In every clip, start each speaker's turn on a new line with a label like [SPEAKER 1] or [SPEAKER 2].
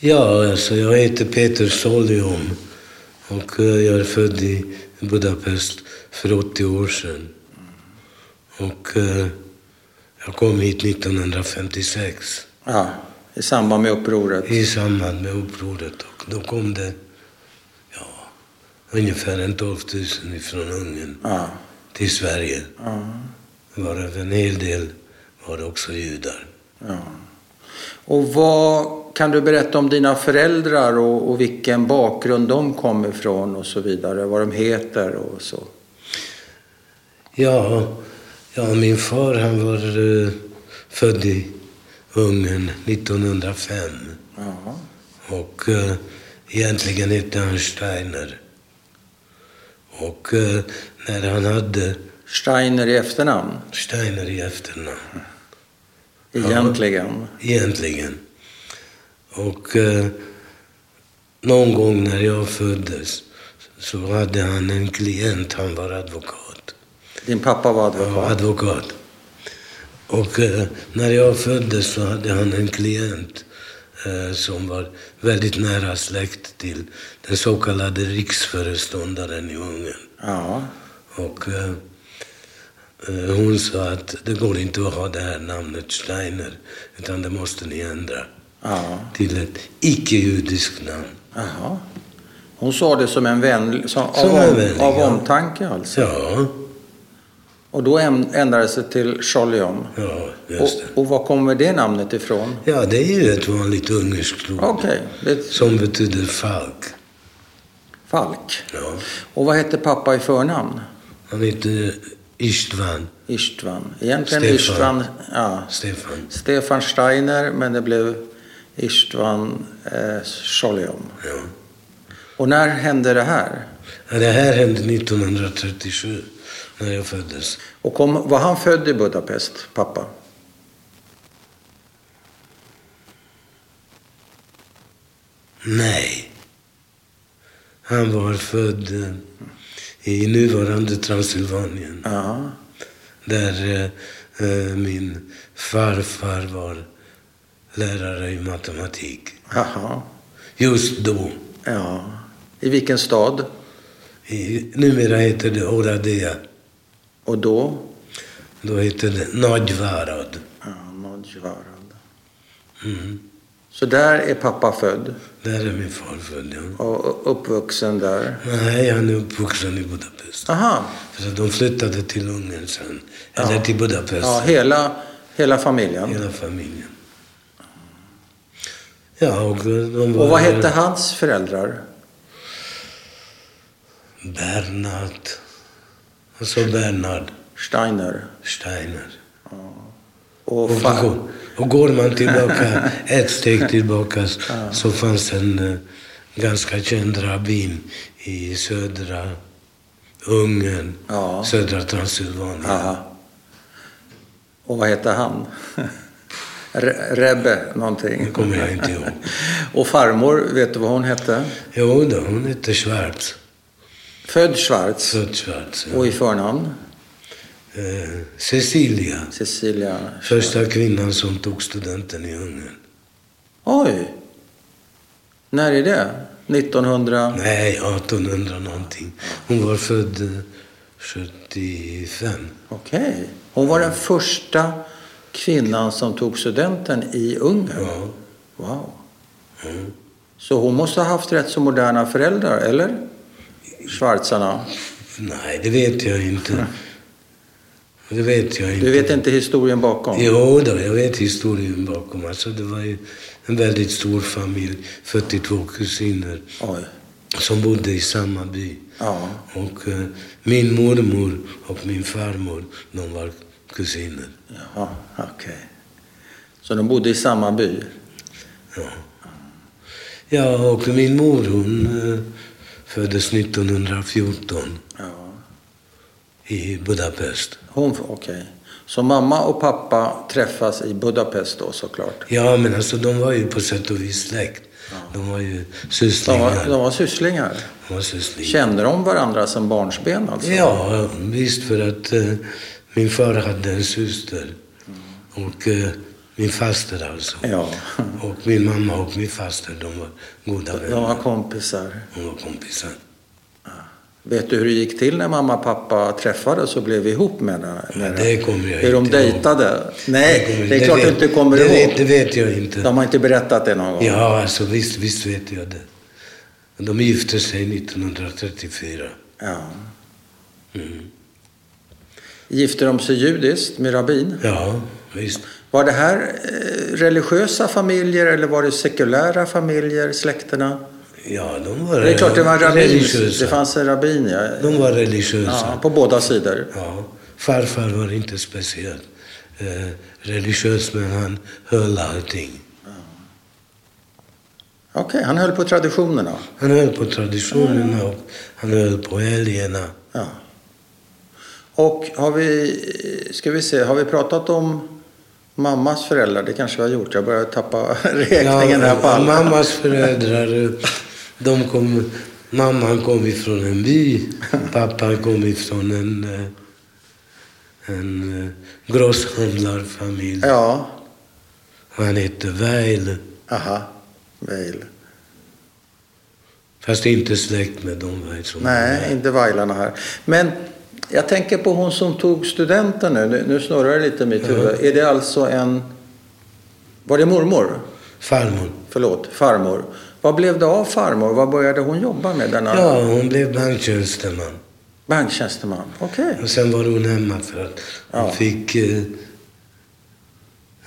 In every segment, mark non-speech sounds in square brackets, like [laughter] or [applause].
[SPEAKER 1] Ja, alltså jag heter Peter Solium och eh, jag är född i Budapest för 80 år sedan. Och eh, jag kom hit 1956
[SPEAKER 2] Ja, I samband med upproret?
[SPEAKER 1] i samband med upproret och då kom det ja, ungefär en 12 000 ifrån Ungern
[SPEAKER 2] Ja.
[SPEAKER 1] till Sverige.
[SPEAKER 2] ja.
[SPEAKER 1] Varav en hel del var det också judar.
[SPEAKER 2] ja. Och vad kan du berätta om dina föräldrar och, och vilken bakgrund de kommer ifrån och så vidare? Vad de heter och så?
[SPEAKER 1] Ja, ja min far han var eh, född i Ungern 1905.
[SPEAKER 2] Ja.
[SPEAKER 1] Och eh, egentligen hette han Steiner. Och eh, när han hade
[SPEAKER 2] Steiner i efternamn,
[SPEAKER 1] Steiner i efternamn,
[SPEAKER 2] egentligen.
[SPEAKER 1] egentligen. Och eh, någon gång när jag föddes så hade han en klient, han var advokat.
[SPEAKER 2] Din pappa var
[SPEAKER 1] Ja,
[SPEAKER 2] advokat.
[SPEAKER 1] advokat. Och eh, när jag föddes så hade han en klient eh, som var väldigt nära släkt till den så kallade riksföreståndaren i Ungern.
[SPEAKER 2] Ja.
[SPEAKER 1] Och eh, eh, hon sa att det går inte att ha det här namnet Steiner, utan det måste ni ändra
[SPEAKER 2] Ja.
[SPEAKER 1] till ett icke-judiskt namn.
[SPEAKER 2] Jaha. Hon sa det som en vän, som,
[SPEAKER 1] Som
[SPEAKER 2] av,
[SPEAKER 1] en vänlig,
[SPEAKER 2] av
[SPEAKER 1] ja.
[SPEAKER 2] omtanke alltså.
[SPEAKER 1] Ja,
[SPEAKER 2] Och då äm- ändrades det till Schollium.
[SPEAKER 1] ja, just det.
[SPEAKER 2] Och, och var kommer det namnet ifrån?
[SPEAKER 1] Ja, det är ju ett vanligt ungerskt ord
[SPEAKER 2] Okej, det är ett
[SPEAKER 1] som betyder falk.
[SPEAKER 2] Falk.
[SPEAKER 1] Ja.
[SPEAKER 2] Och vad hette pappa i förnamn?
[SPEAKER 1] Han heter Istvan
[SPEAKER 2] Istvan. Egentligen
[SPEAKER 1] Stefan.
[SPEAKER 2] Istvan... Ja,
[SPEAKER 1] Stefan.
[SPEAKER 2] Stefan Steiner, men det blev Istvan eh, Schollium.
[SPEAKER 1] Ja.
[SPEAKER 2] Och när hände det här?
[SPEAKER 1] Ja, Det här hände 1937 när jag föddes.
[SPEAKER 2] Och kom, var han född i Budapest, pappa?
[SPEAKER 1] Nej. Han var född eh, i nuvarande Transylvanien.
[SPEAKER 2] Ja.
[SPEAKER 1] Där eh, eh, min farfar var lärare i matematik.
[SPEAKER 2] Jaha.
[SPEAKER 1] Just då.
[SPEAKER 2] Ja. I vilken stad?
[SPEAKER 1] I, numera heter det Oradea.
[SPEAKER 2] Och då?
[SPEAKER 1] Då hette det Nagyvárad.
[SPEAKER 2] Ja, Nagyvarad.
[SPEAKER 1] Mm.
[SPEAKER 2] Så där är pappa född
[SPEAKER 1] Där är min far född. Ja.
[SPEAKER 2] och uppvuxen där.
[SPEAKER 1] Nej, han är uppvuxen i Budapest.
[SPEAKER 2] Aha.
[SPEAKER 1] För att de flyttade till Ungern sen. Eller
[SPEAKER 2] Ja.
[SPEAKER 1] till Budapest.
[SPEAKER 2] Ja, hela, hela familjen.
[SPEAKER 1] Hela familjen. Ja, och de var...
[SPEAKER 2] Och vad hette hans föräldrar?
[SPEAKER 1] Bernhard. Och så Bernhard
[SPEAKER 2] Steiner.
[SPEAKER 1] Steiner.
[SPEAKER 2] Och
[SPEAKER 1] Och,
[SPEAKER 2] fa-
[SPEAKER 1] går- och går man
[SPEAKER 2] [laughs]
[SPEAKER 1] tillbaka, ett steg tillbaka, så fanns en eh, ganska känd rabbin i södra Ungern,
[SPEAKER 2] Ja.
[SPEAKER 1] södra Transylvanien.
[SPEAKER 2] Aha. Och vad hette han? [laughs] Re- Rebbe
[SPEAKER 1] Det
[SPEAKER 2] någonting.
[SPEAKER 1] kommer jag inte ihåg.
[SPEAKER 2] [laughs] Och farmor, vet du vad hon hette?
[SPEAKER 1] Jo då, hon hette Schwarz.
[SPEAKER 2] Född Schwarz.
[SPEAKER 1] Sött Schwarz. Ja.
[SPEAKER 2] Och i förnamn?
[SPEAKER 1] Eh, Cecilia.
[SPEAKER 2] Cecilia.
[SPEAKER 1] Första kvinnan som tog studenten i Ungern.
[SPEAKER 2] Oj! När är det? 1900?
[SPEAKER 1] Nej, 1800 någonting. Hon var född eh, 75.
[SPEAKER 2] Okej. Hon var den första kvinnan som tog studenten i Ungern?
[SPEAKER 1] Ja.
[SPEAKER 2] Wow.
[SPEAKER 1] Mm.
[SPEAKER 2] Så hon måste ha haft rätt så moderna föräldrar, eller? Schwarzarna.
[SPEAKER 1] Nej, det vet jag inte. Det vet jag inte.
[SPEAKER 2] Du vet inte historien bakom?
[SPEAKER 1] Jo då, jag vet historien bakom. Alltså, det var ju en väldigt stor familj, 42 kusiner,
[SPEAKER 2] Oj.
[SPEAKER 1] som bodde i samma by.
[SPEAKER 2] Ja.
[SPEAKER 1] Och eh, min mormor och min farmor, de var kusiner.
[SPEAKER 2] Jaha, okej. Så de bodde i samma by?
[SPEAKER 1] Ja. ja, och min mor hon eh, föddes 1914
[SPEAKER 2] Ja.
[SPEAKER 1] i Budapest.
[SPEAKER 2] Hon, okej. Så mamma och pappa träffas i Budapest då såklart?
[SPEAKER 1] Ja, men alltså de var ju på sätt och vis släkt. De var ju
[SPEAKER 2] De
[SPEAKER 1] sysslingar.
[SPEAKER 2] var, de var sysslingar?
[SPEAKER 1] De var sysslingar.
[SPEAKER 2] Kände de varandra som barnsben alltså?
[SPEAKER 1] Ja, visst för att eh, min far hade en syster. Och eh, Min faster alltså.
[SPEAKER 2] Mm. Ja.
[SPEAKER 1] Och min mamma och min faster, de var goda vänner.
[SPEAKER 2] De var kompisar.
[SPEAKER 1] De var kompisar.
[SPEAKER 2] Vet du hur det gick till när mamma och pappa träffades och blev ihop med
[SPEAKER 1] Ja,
[SPEAKER 2] henne?
[SPEAKER 1] det kommer jag
[SPEAKER 2] Hur de
[SPEAKER 1] inte ihåg.
[SPEAKER 2] dejtade?
[SPEAKER 1] kommer-
[SPEAKER 2] Nej, det är klart du
[SPEAKER 1] vet-
[SPEAKER 2] inte kommer
[SPEAKER 1] det
[SPEAKER 2] ihåg.
[SPEAKER 1] Vet, det vet jag inte.
[SPEAKER 2] De har inte berättat det någon gång?
[SPEAKER 1] Ja, alltså visst, visst vet jag det. De gifte sig 1934.
[SPEAKER 2] Ja.
[SPEAKER 1] Mm.
[SPEAKER 2] Gifte de sig judiskt med rabbin?
[SPEAKER 1] Ja, visst.
[SPEAKER 2] Var det här eh, religiösa familjer eller var det sekulära familjer, släkterna?
[SPEAKER 1] Ja, de var
[SPEAKER 2] Det är klart det var rabbin.
[SPEAKER 1] religiösa.
[SPEAKER 2] Det fanns en rabbin, ja.
[SPEAKER 1] De var religiösa.
[SPEAKER 2] ja. På båda sidor.
[SPEAKER 1] Ja, farfar var inte speciellt eh, religiös, men han höll allting.
[SPEAKER 2] Okej, han höll på traditionerna.
[SPEAKER 1] Han höll på traditionerna och han höll på helgerna.
[SPEAKER 2] Ja. Och har vi, ska vi se, har vi pratat om mammas föräldrar? Det kanske vi har gjort. Jag börjar tappa [laughs] räkningen här på
[SPEAKER 1] Ja,
[SPEAKER 2] alla.
[SPEAKER 1] mammas föräldrar, eh, de kom, mamman kom ifrån en by, pappan kom ifrån en, eh, en eh, grosshandlarfamilj.
[SPEAKER 2] Ja,
[SPEAKER 1] Han hette Weil,
[SPEAKER 2] aha, väl.
[SPEAKER 1] fast inte släkt med de Weil som
[SPEAKER 2] Nej, inte Vailarna här. Men jag tänker på hon som tog studenten nu. Nu, nu snurrar det lite i mitt huvud. Är det alltså en... Var det mormor?
[SPEAKER 1] Farmor.
[SPEAKER 2] Förlåt, farmor. Vad blev det av farmor? Vad började hon jobba med, denna
[SPEAKER 1] Ja, hon blev banktjänsteman.
[SPEAKER 2] banktjänsteman? Okej.
[SPEAKER 1] Och sen var hon hemma för att hon
[SPEAKER 2] Ja.
[SPEAKER 1] fick eh,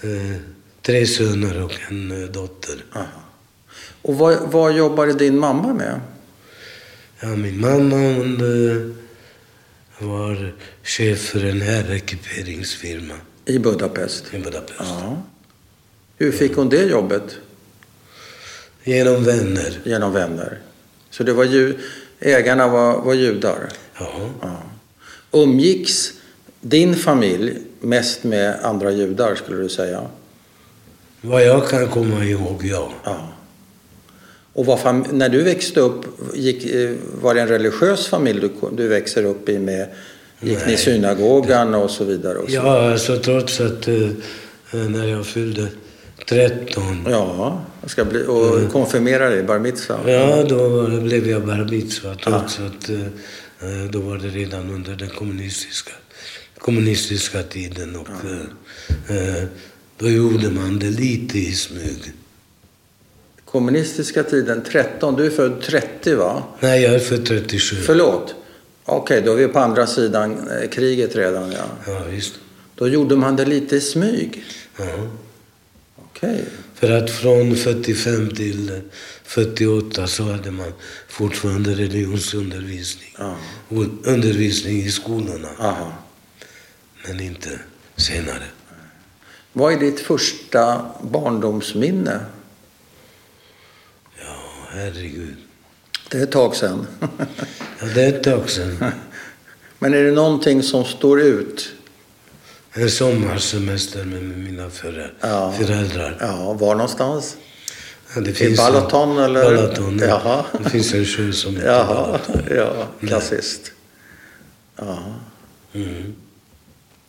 [SPEAKER 1] eh, tre söner och en eh, dotter.
[SPEAKER 2] Aha. Och vad, vad jobbade din mamma med?
[SPEAKER 1] Ja, min mamma hon eh, var chef för en herrekiperingsfirma
[SPEAKER 2] I Budapest?
[SPEAKER 1] i Budapest.
[SPEAKER 2] Ja. Hur fick hon det jobbet?
[SPEAKER 1] Genom vänner.
[SPEAKER 2] Genom vänner. Så det var ju, ägarna var, var judar?
[SPEAKER 1] Ja.
[SPEAKER 2] Ja. Umgicks din familj mest med andra judar skulle du säga?
[SPEAKER 1] Vad jag kan komma ihåg, ja.
[SPEAKER 2] Ja. Och vad fam- när du växte upp, gick, eh, var det en religiös familj du, ko- du växer upp i med? Gick ni i
[SPEAKER 1] Nej.
[SPEAKER 2] synagogan och så vidare? Och så?
[SPEAKER 1] Ja, alltså trots att eh, när jag fyllde 13
[SPEAKER 2] Ja, jag ska bli, och konfirmera dig, bar mitzvah.
[SPEAKER 1] Ja, då blev jag bar mitzvah trots att eh, då var det redan under den kommunistiska, kommunistiska tiden och eh, eh, då gjorde man det lite i smyg.
[SPEAKER 2] Kommunistiska tiden 13, du är född 30 va?
[SPEAKER 1] Nej, jag är för 37.
[SPEAKER 2] Förlåt? Okej, då är vi på andra sidan eh, kriget redan ja.
[SPEAKER 1] Ja, visst.
[SPEAKER 2] Då gjorde man det lite i smyg.
[SPEAKER 1] Ja.
[SPEAKER 2] Okej.
[SPEAKER 1] För att från 45 till eh, 48 så hade man fortfarande religionsundervisning.
[SPEAKER 2] Ja.
[SPEAKER 1] O- Undervisning i skolorna,
[SPEAKER 2] Aha.
[SPEAKER 1] men inte senare.
[SPEAKER 2] Vad är ditt första barndomsminne?
[SPEAKER 1] Ja, herregud.
[SPEAKER 2] Det är ett tag sedan. [laughs]
[SPEAKER 1] Ja, det är ett tag sedan.
[SPEAKER 2] Men är det någonting som står ut?
[SPEAKER 1] En sommarsemester med mina föräldrar.
[SPEAKER 2] Ja.
[SPEAKER 1] föräldrar.
[SPEAKER 2] Ja, var någonstans?
[SPEAKER 1] Ja, det
[SPEAKER 2] I Balaton eller?
[SPEAKER 1] Balaton, ja.
[SPEAKER 2] Jaha.
[SPEAKER 1] Det finns en sjö som heter
[SPEAKER 2] Jaha, [laughs]
[SPEAKER 1] Balaton.
[SPEAKER 2] ja, klassiskt. Ja.
[SPEAKER 1] Mm.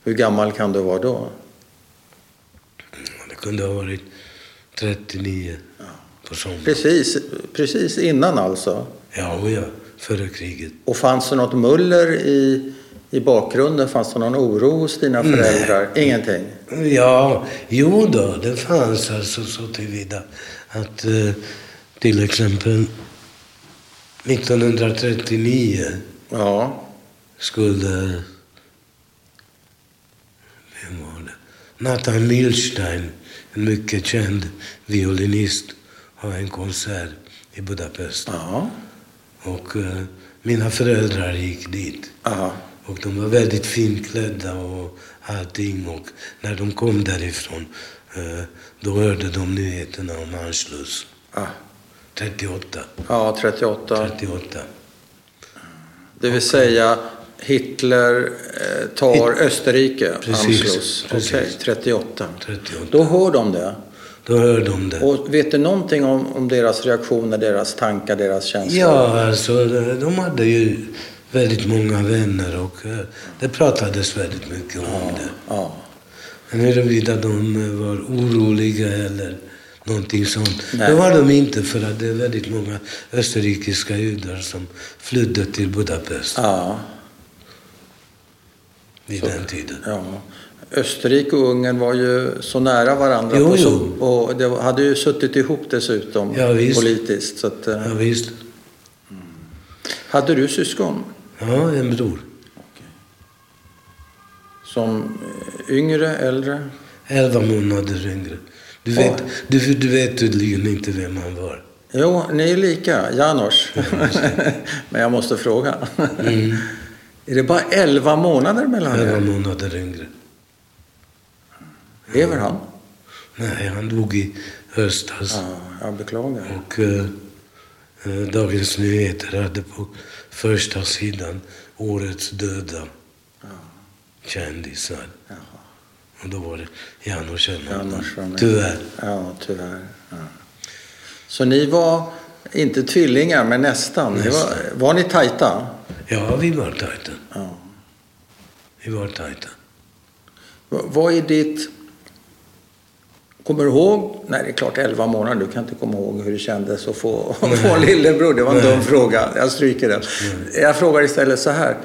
[SPEAKER 2] Hur gammal kan du vara då?
[SPEAKER 1] Det kunde ha varit 39 på sommaren.
[SPEAKER 2] Precis, precis innan alltså.
[SPEAKER 1] Ja, och ja, före kriget.
[SPEAKER 2] Och fanns det något muller i, i bakgrunden? Fanns det någon oro hos dina
[SPEAKER 1] Mm. Nej.
[SPEAKER 2] föräldrar? Ingenting?
[SPEAKER 1] Ja, jo då, det fanns alltså så tillvida att eh, till exempel 1939
[SPEAKER 2] Ja.
[SPEAKER 1] skulle... Vem var det? Nathan Milstein, en mycket känd violinist, ha en konsert i Budapest.
[SPEAKER 2] Ja.
[SPEAKER 1] Och eh, mina föräldrar gick dit.
[SPEAKER 2] Aha.
[SPEAKER 1] Och de var väldigt finklädda och allting. Och när de kom därifrån eh, då hörde de nyheterna om Anschluss.
[SPEAKER 2] Ah.
[SPEAKER 1] 38.
[SPEAKER 2] Ja, 38.
[SPEAKER 1] 38.
[SPEAKER 2] Det vill säga Hitler eh, tar
[SPEAKER 1] Hit-
[SPEAKER 2] Österrike,
[SPEAKER 1] Precis,
[SPEAKER 2] Anschluss. Okej,
[SPEAKER 1] precis.
[SPEAKER 2] 38.
[SPEAKER 1] 38.
[SPEAKER 2] Då hör de det.
[SPEAKER 1] Då hörde de det.
[SPEAKER 2] Och vet du någonting om, om deras reaktioner, deras tankar, deras känslor?
[SPEAKER 1] Ja, alltså de hade ju eh, väldigt många vänner och eh, det pratades väldigt mycket om det.
[SPEAKER 2] Ja.
[SPEAKER 1] huruvida de eh, var oroliga eller någonting sånt.
[SPEAKER 2] Nej.
[SPEAKER 1] Det var de inte för att det är väldigt många österrikiska judar som flydde till Budapest
[SPEAKER 2] Ja,
[SPEAKER 1] vid
[SPEAKER 2] så-
[SPEAKER 1] den tiden.
[SPEAKER 2] ja. Österrike och Ungern var ju så nära varandra.
[SPEAKER 1] Jo,
[SPEAKER 2] och,
[SPEAKER 1] jo.
[SPEAKER 2] så, och det hade ju suttit ihop dessutom
[SPEAKER 1] Ja, visst.
[SPEAKER 2] politiskt. Så att, eh,
[SPEAKER 1] Ja, visst.
[SPEAKER 2] Hade du syskon
[SPEAKER 1] Ja, en bror.
[SPEAKER 2] som eh, yngre, äldre?
[SPEAKER 1] Elva månader yngre. Du vet,
[SPEAKER 2] Oj.
[SPEAKER 1] du, du vet tydligen inte vem han var.
[SPEAKER 2] Jo, ni är lika, Janos. [laughs] Men jag måste fråga.
[SPEAKER 1] Mm.
[SPEAKER 2] [laughs] Är det bara 11 månader mellan
[SPEAKER 1] Elva
[SPEAKER 2] er?
[SPEAKER 1] månader yngre.
[SPEAKER 2] Lever han?
[SPEAKER 1] Nej, han dog i höstas.
[SPEAKER 2] Ja, jag beklagar.
[SPEAKER 1] Och eh, eh, Dagens Nyheter hade på första sidan årets döda
[SPEAKER 2] Ja.
[SPEAKER 1] kändisar.
[SPEAKER 2] Jaha.
[SPEAKER 1] Och då var det Jan och Kjell.
[SPEAKER 2] Janos var med.
[SPEAKER 1] Tyvärr.
[SPEAKER 2] Ja, tyvärr. Ja. Så ni var inte tvillingar, men nästan. Ni var,
[SPEAKER 1] Nästan.
[SPEAKER 2] var ni tajta?
[SPEAKER 1] Ja, vi var tajta.
[SPEAKER 2] Ja.
[SPEAKER 1] Vi var tajta.
[SPEAKER 2] V- Vad är ditt... Kommer du ihåg? Nej, det är klart 11 månader. Du kan inte komma ihåg hur det kändes att få, [laughs] att få en lillebror. Det var en
[SPEAKER 1] Nej.
[SPEAKER 2] dum fråga. Jag stryker den. Jag frågar istället så här.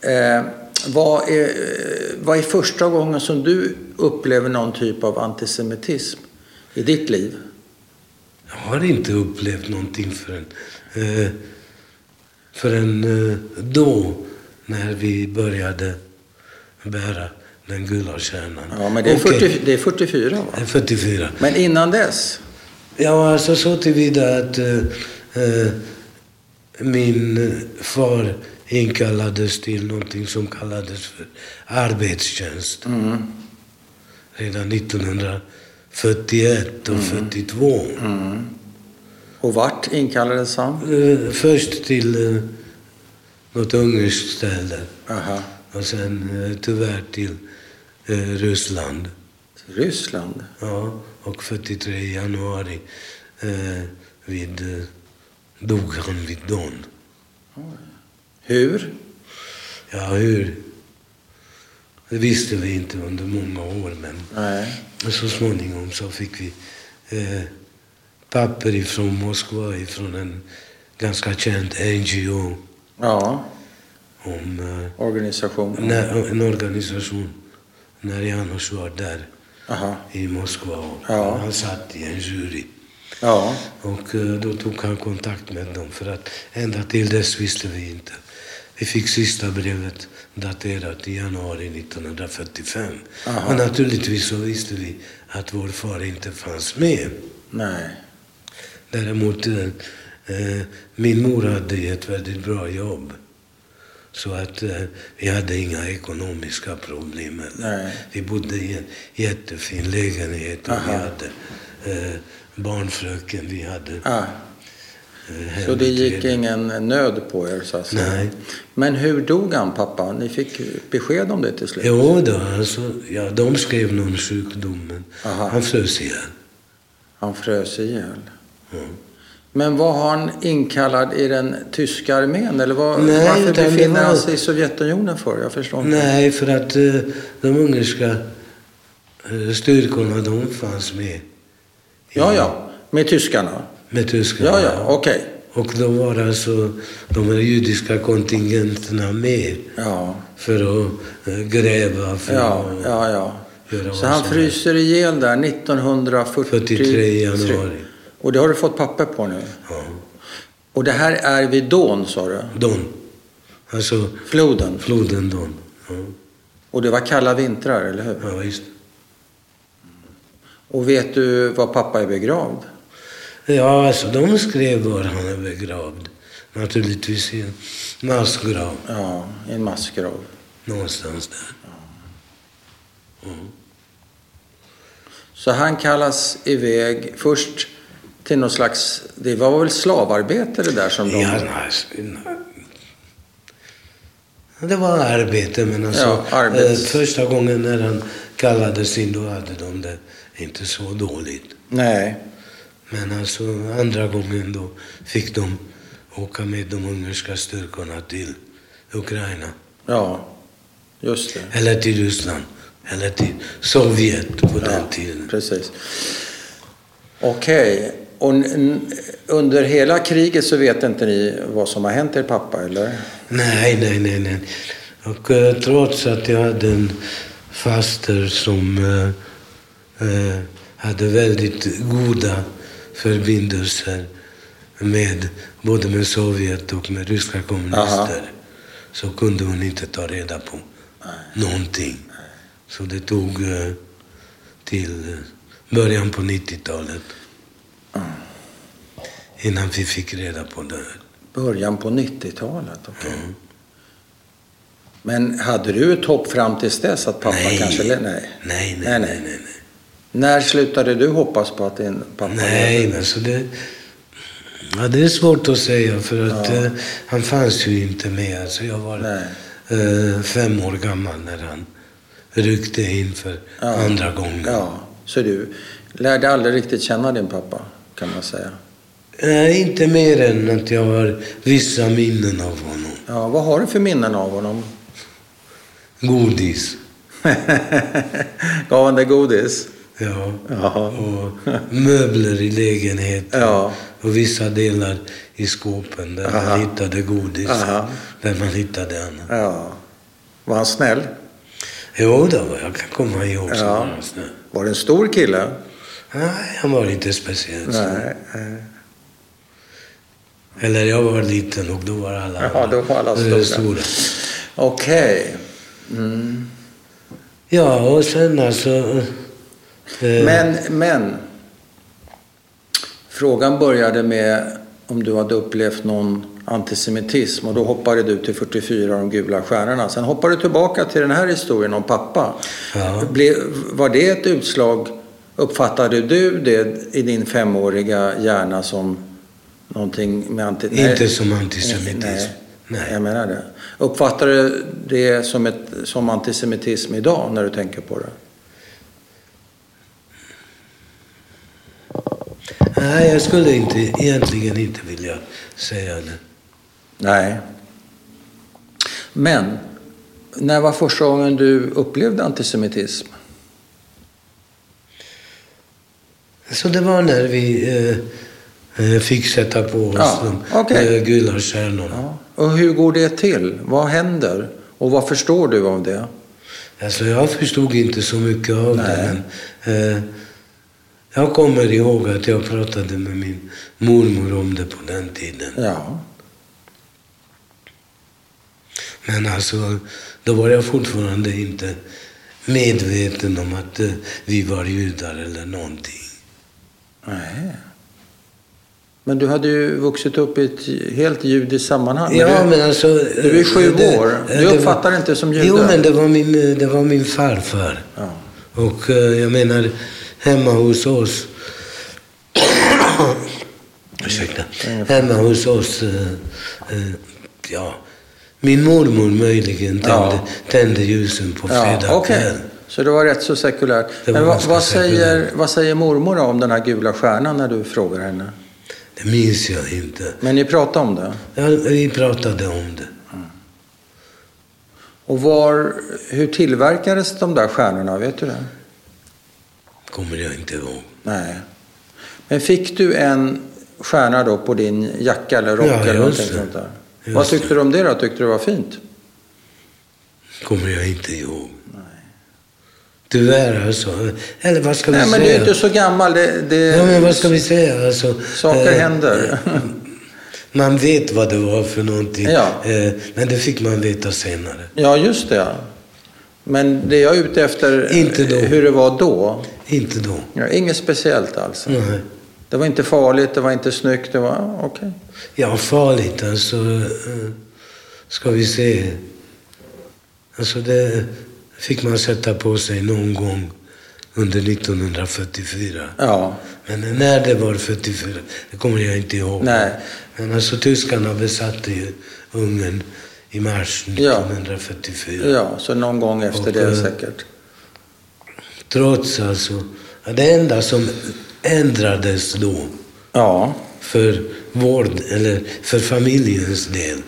[SPEAKER 2] Eh, vad, är, eh, vad är första gången som du upplever någon typ av antisemitism i ditt liv?
[SPEAKER 1] Jag har inte upplevt någonting förrän, eh, förrän eh, då, när vi började bära den gula stjärnan.
[SPEAKER 2] Ja, men det är,
[SPEAKER 1] Okej,
[SPEAKER 2] 40, det är 44, va?
[SPEAKER 1] det är 44.
[SPEAKER 2] Men innan dess?
[SPEAKER 1] Ja, alltså så tillvida att eh, eh, min far inkallades till någonting som kallades för arbetstjänst.
[SPEAKER 2] Mm.
[SPEAKER 1] Redan 1941 och 42.
[SPEAKER 2] Mm. Och vart inkallades han?
[SPEAKER 1] Eh, först till eh, något ungerskt ställe
[SPEAKER 2] Aha.
[SPEAKER 1] och sen eh, tyvärr till eh, Ryssland.
[SPEAKER 2] Till Ryssland?
[SPEAKER 1] Ja, och 43 i januari eh, vid, eh, dog han vid dagen.
[SPEAKER 2] Hur?
[SPEAKER 1] Ja, hur? Det visste vi inte under många år, men
[SPEAKER 2] Nej.
[SPEAKER 1] så småningom så fick vi eh, papper ifrån Moskva, ifrån en ganska känd NGO
[SPEAKER 2] Ja,
[SPEAKER 1] om eh,
[SPEAKER 2] organisation.
[SPEAKER 1] när, en organisation när Janusz var där
[SPEAKER 2] Aha.
[SPEAKER 1] i Moskva. Och
[SPEAKER 2] Ja.
[SPEAKER 1] Han satt i en jury.
[SPEAKER 2] Ja.
[SPEAKER 1] Och eh, då tog han kontakt med dem för att ända till dess visste vi inte. Vi fick sista brevet daterat i januari 1945.
[SPEAKER 2] Aha.
[SPEAKER 1] Och naturligtvis så visste vi att vår far inte fanns med.
[SPEAKER 2] Nej.
[SPEAKER 1] Däremot, eh, eh, min mor hade ju ett väldigt bra jobb. Så att eh, vi hade inga ekonomiska problem. Eller.
[SPEAKER 2] Nej.
[SPEAKER 1] Vi bodde i en jättefin lägenhet och vi
[SPEAKER 2] Aha.
[SPEAKER 1] hade eh, barnfröken, vi hade
[SPEAKER 2] Ah,
[SPEAKER 1] eh,
[SPEAKER 2] så det gick
[SPEAKER 1] hembiträde.
[SPEAKER 2] ingen nöd på er så att säga.
[SPEAKER 1] Nej.
[SPEAKER 2] Men hur dog han pappa? Ni fick besked om det till slut?
[SPEAKER 1] Jo då, alltså, ja, de skrev någon sjukdom, men
[SPEAKER 2] Aha.
[SPEAKER 1] han frös ihjäl.
[SPEAKER 2] Han frös ihjäl.
[SPEAKER 1] Ja.
[SPEAKER 2] Men var han inkallad i den tyska armén? Eller var,
[SPEAKER 1] Nej,
[SPEAKER 2] varför
[SPEAKER 1] utan det
[SPEAKER 2] befinner han
[SPEAKER 1] var-
[SPEAKER 2] sig i Sovjetunionen för? Jag förstår inte.
[SPEAKER 1] Nej, för att eh, de ungerska eh, styrkorna, de fanns med. i-
[SPEAKER 2] Ja, ja. Med tyskarna?
[SPEAKER 1] Med tyskarna.
[SPEAKER 2] Ja, ja. Okej.
[SPEAKER 1] Och då var alltså de här judiska kontingenterna med
[SPEAKER 2] Ja.
[SPEAKER 1] för att eh, gräva, för
[SPEAKER 2] Ja,
[SPEAKER 1] att
[SPEAKER 2] ja, ja.
[SPEAKER 1] göra vad
[SPEAKER 2] Så han
[SPEAKER 1] som helst.
[SPEAKER 2] fryser ihjäl där 1943?
[SPEAKER 1] 43 i januari.
[SPEAKER 2] Och det har du fått papper på nu?
[SPEAKER 1] Ja.
[SPEAKER 2] Och det här är vid Don, sa du?
[SPEAKER 1] Don. Alltså
[SPEAKER 2] Floden?
[SPEAKER 1] floden Don. Ja,
[SPEAKER 2] Och det var kalla vintrar, eller hur?
[SPEAKER 1] ja visst.
[SPEAKER 2] Och vet du var pappa är begravd?
[SPEAKER 1] Ja, alltså de skrev var han är begravd. Naturligtvis i en massgrav
[SPEAKER 2] Ja, i en massgrav.
[SPEAKER 1] någonstans där.
[SPEAKER 2] Så han kallas iväg först till någon slags... Det var väl slavarbete det där som de...
[SPEAKER 1] Ja, alltså, det var arbete, men alltså,
[SPEAKER 2] Ja, arbets-
[SPEAKER 1] eh, första gången när han kallades in då hade de det inte så dåligt.
[SPEAKER 2] Nej.
[SPEAKER 1] Men alltså andra gången då fick de åka med de ungerska styrkorna till Ukraina.
[SPEAKER 2] Ja, just det.
[SPEAKER 1] Eller till Ryssland Eller till Sovjet på den tiden.
[SPEAKER 2] Precis. Okej. Och n- n- under hela kriget så vet inte ni vad som har hänt er pappa, eller?
[SPEAKER 1] Nej, nej, nej, nej. Och eh, trots att jag hade en faster som eh, eh, hade väldigt goda förbindelser med både med Sovjet och med ryska kommunister
[SPEAKER 2] Aha.
[SPEAKER 1] så kunde hon inte ta reda på någonting. Så det tog eh, till eh, början på 90-talet innan vi fick reda på det här.
[SPEAKER 2] Början på 90-talet, okej. Men hade du ett hopp fram tills dess att pappa kanske... le- Nej.
[SPEAKER 1] Nej, nej,
[SPEAKER 2] Nej, nej.
[SPEAKER 1] nej. nej, nej.
[SPEAKER 2] När slutade du hoppas på att din pappa...
[SPEAKER 1] Nej,
[SPEAKER 2] levde?
[SPEAKER 1] men så det... Ja, det är svårt att säga för att eh, han fanns ju inte med. Alltså, jag var
[SPEAKER 2] Nej.
[SPEAKER 1] eh, fem år gammal när han ryckte in för
[SPEAKER 2] Ja.
[SPEAKER 1] andra gången.
[SPEAKER 2] Ja, så du lärde aldrig riktigt känna din pappa, kan man säga.
[SPEAKER 1] Nej, inte mer än att jag har vissa minnen av honom.
[SPEAKER 2] Ja, vad har du för minnen av honom? [laughs]
[SPEAKER 1] Godis,
[SPEAKER 2] Gav han dig godis?
[SPEAKER 1] ja.
[SPEAKER 2] Ja.
[SPEAKER 1] Och möbler i lägenheten.
[SPEAKER 2] Ja.
[SPEAKER 1] Och vissa delar i skåpen där
[SPEAKER 2] Aha.
[SPEAKER 1] man hittade godis.
[SPEAKER 2] Aha.
[SPEAKER 1] Där man hittade annat.
[SPEAKER 2] Ja. Var han snäll?
[SPEAKER 1] Jo då, jag kan komma ihåg
[SPEAKER 2] Ja.
[SPEAKER 1] sådana snö.
[SPEAKER 2] Var det en stor kille?
[SPEAKER 1] Nej, han var inte speciellt stor.
[SPEAKER 2] Nej. eh,
[SPEAKER 1] Eller jag var liten och då var alla,
[SPEAKER 2] Ja, då var alla
[SPEAKER 1] eh,
[SPEAKER 2] stora. Okej. Mm.
[SPEAKER 1] Ja, och sen alltså... eh,
[SPEAKER 2] Men, men. Frågan började med om du hade upplevt någon antisemitism och då hoppade du till 44 de gula stjärnorna. Sen hoppade du tillbaka till den här historien om pappa.
[SPEAKER 1] Ja.
[SPEAKER 2] Ble, var det ett utslag, uppfattade du det i din femåriga hjärna som någonting med anti...
[SPEAKER 1] Inte som antisemitism.
[SPEAKER 2] Nej. Nej.
[SPEAKER 1] Nej.
[SPEAKER 2] Jag menar det. Uppfattar du det som, ett, som antisemitism idag när du tänker på det?
[SPEAKER 1] Nej, jag skulle inte, egentligen inte vilja säga det.
[SPEAKER 2] Nej. Men, när var första gången du upplevde antisemitism?
[SPEAKER 1] Så det var när vi eh, eh, fick sätta på oss
[SPEAKER 2] Ja,
[SPEAKER 1] de
[SPEAKER 2] okej.
[SPEAKER 1] eh, gula stjärnorna.
[SPEAKER 2] Ja. Och hur går det till? Vad händer? Och vad förstår du av det?
[SPEAKER 1] Alltså jag förstod inte så mycket av
[SPEAKER 2] Nej.
[SPEAKER 1] det. Men, eh, jag kommer ihåg att jag pratade med min mormor om det på den tiden.
[SPEAKER 2] Ja.
[SPEAKER 1] Men alltså, då var jag fortfarande inte medveten om att eh, vi var judar eller någonting.
[SPEAKER 2] Nej. Men du hade ju vuxit upp i ett helt judiskt sammanhang.
[SPEAKER 1] Ja,
[SPEAKER 2] du,
[SPEAKER 1] men alltså...
[SPEAKER 2] du är sju år. Du
[SPEAKER 1] det var-
[SPEAKER 2] uppfattar det inte som jude.
[SPEAKER 1] Jo, men det var min, eh, det var min farfar.
[SPEAKER 2] Ja.
[SPEAKER 1] Och eh, jag menar, hemma hos oss... [coughs] Ursäkta.
[SPEAKER 2] ingen
[SPEAKER 1] Hemma hos oss... eh, eh, Ja, min mormor möjligen tände,
[SPEAKER 2] Ja.
[SPEAKER 1] tände ljusen på
[SPEAKER 2] Ja,
[SPEAKER 1] fredag
[SPEAKER 2] okej.
[SPEAKER 1] kväll.
[SPEAKER 2] Så det var rätt så sekulärt.
[SPEAKER 1] Det var
[SPEAKER 2] Men vad,
[SPEAKER 1] ganska
[SPEAKER 2] vad, säger,
[SPEAKER 1] sekulärt.
[SPEAKER 2] vad säger mormor om den här gula stjärnan när du frågar henne?
[SPEAKER 1] Det minns jag inte.
[SPEAKER 2] Men ni pratade om det.
[SPEAKER 1] Ja, vi pratade om det.
[SPEAKER 2] Och var, hur tillverkades de där stjärnorna? Vet du det?
[SPEAKER 1] Kommer jag inte ihåg.
[SPEAKER 2] Nej. Men fick du en stjärna då på din jacka eller rock
[SPEAKER 1] Ja,
[SPEAKER 2] eller
[SPEAKER 1] just
[SPEAKER 2] någonting
[SPEAKER 1] det.
[SPEAKER 2] sånt där?
[SPEAKER 1] Just
[SPEAKER 2] vad tyckte
[SPEAKER 1] det.
[SPEAKER 2] du om det då? Tyckte du det var fint?
[SPEAKER 1] Kommer jag inte ihåg. Tyvärr alltså. Eller vad ska
[SPEAKER 2] Nej,
[SPEAKER 1] vi
[SPEAKER 2] men du
[SPEAKER 1] säga?
[SPEAKER 2] är inte så gammal. Det, det,
[SPEAKER 1] Ja, men vad ska vi säga? Alltså,
[SPEAKER 2] Saker
[SPEAKER 1] eh,
[SPEAKER 2] händer.
[SPEAKER 1] Man vet vad det var för någonting.
[SPEAKER 2] Ja.
[SPEAKER 1] Eh, men det fick man veta senare.
[SPEAKER 2] [laughs] ja, just det. ja. Men det jag är ute efter,
[SPEAKER 1] Inte då.
[SPEAKER 2] hur det var då,
[SPEAKER 1] Inte då.
[SPEAKER 2] ja, inget speciellt alls.
[SPEAKER 1] Nej.
[SPEAKER 2] Det var inte farligt, det var inte snyggt, det var ah, okej.
[SPEAKER 1] Ja, farligt alltså. eh, Ska vi se. Alltså det fick man sätta på sig någon gång under 1944.
[SPEAKER 2] Ja,
[SPEAKER 1] Men när det var 44, det kommer jag inte ihåg.
[SPEAKER 2] Nej.
[SPEAKER 1] Men alltså tyskarna besatte ju Ungern i mars
[SPEAKER 2] Ja.
[SPEAKER 1] 1944.
[SPEAKER 2] ja, så någon gång efter
[SPEAKER 1] Och,
[SPEAKER 2] det
[SPEAKER 1] eh,
[SPEAKER 2] säkert.
[SPEAKER 1] Trots alltså, att det enda som ändrades då
[SPEAKER 2] Ja,
[SPEAKER 1] för vård, eller för familjens del,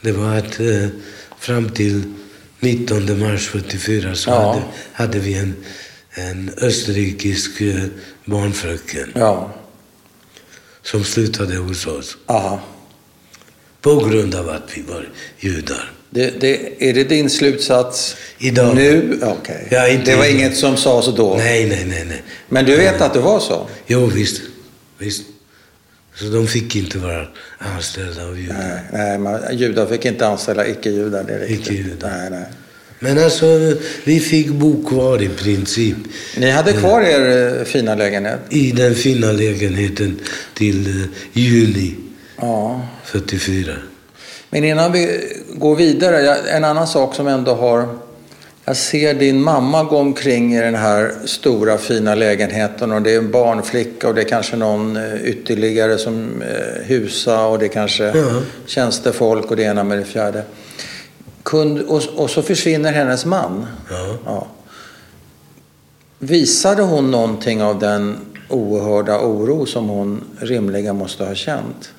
[SPEAKER 1] det var att eh, fram till 19 mars 74 så
[SPEAKER 2] Ja.
[SPEAKER 1] hade, hade vi en, en österrikisk eh, barnfröken
[SPEAKER 2] Ja.
[SPEAKER 1] som slutade hos oss
[SPEAKER 2] Aha.
[SPEAKER 1] på grund av att vi var judar.
[SPEAKER 2] Det, det, är det din slutsats?
[SPEAKER 1] Idag.
[SPEAKER 2] Nu? Okej.
[SPEAKER 1] Ja, inte
[SPEAKER 2] det var
[SPEAKER 1] idag.
[SPEAKER 2] inget som sades då?
[SPEAKER 1] Nej, nej, nej, nej.
[SPEAKER 2] Men du vet att det var så?
[SPEAKER 1] Jo, visst. visst. Så de fick inte vara anställda av judar.
[SPEAKER 2] Nej, nej man, judar fick inte anställa icke-judar. det är riktigt.
[SPEAKER 1] Icke-judar.
[SPEAKER 2] Nej, nej.
[SPEAKER 1] Men alltså, vi fick bo kvar i princip
[SPEAKER 2] Ni hade kvar
[SPEAKER 1] Mm.
[SPEAKER 2] er eh, fina lägenhet?
[SPEAKER 1] i den fina lägenheten till eh, juni
[SPEAKER 2] Ja.
[SPEAKER 1] 44.
[SPEAKER 2] Men innan vi går vidare, jag- en annan sak som ändå har... Jag ser din mamma gå omkring i den här stora fina lägenheten och det är en barnflicka och det är kanske någon eh, ytterligare som eh, husa och det är kanske
[SPEAKER 1] Ja.
[SPEAKER 2] tjänstefolk och det ena med det fjärde. Kund, och, och så försvinner hennes man.
[SPEAKER 1] Ja.
[SPEAKER 2] Ja. Visade hon någonting av den oerhörda oro som hon rimligen måste ha känt?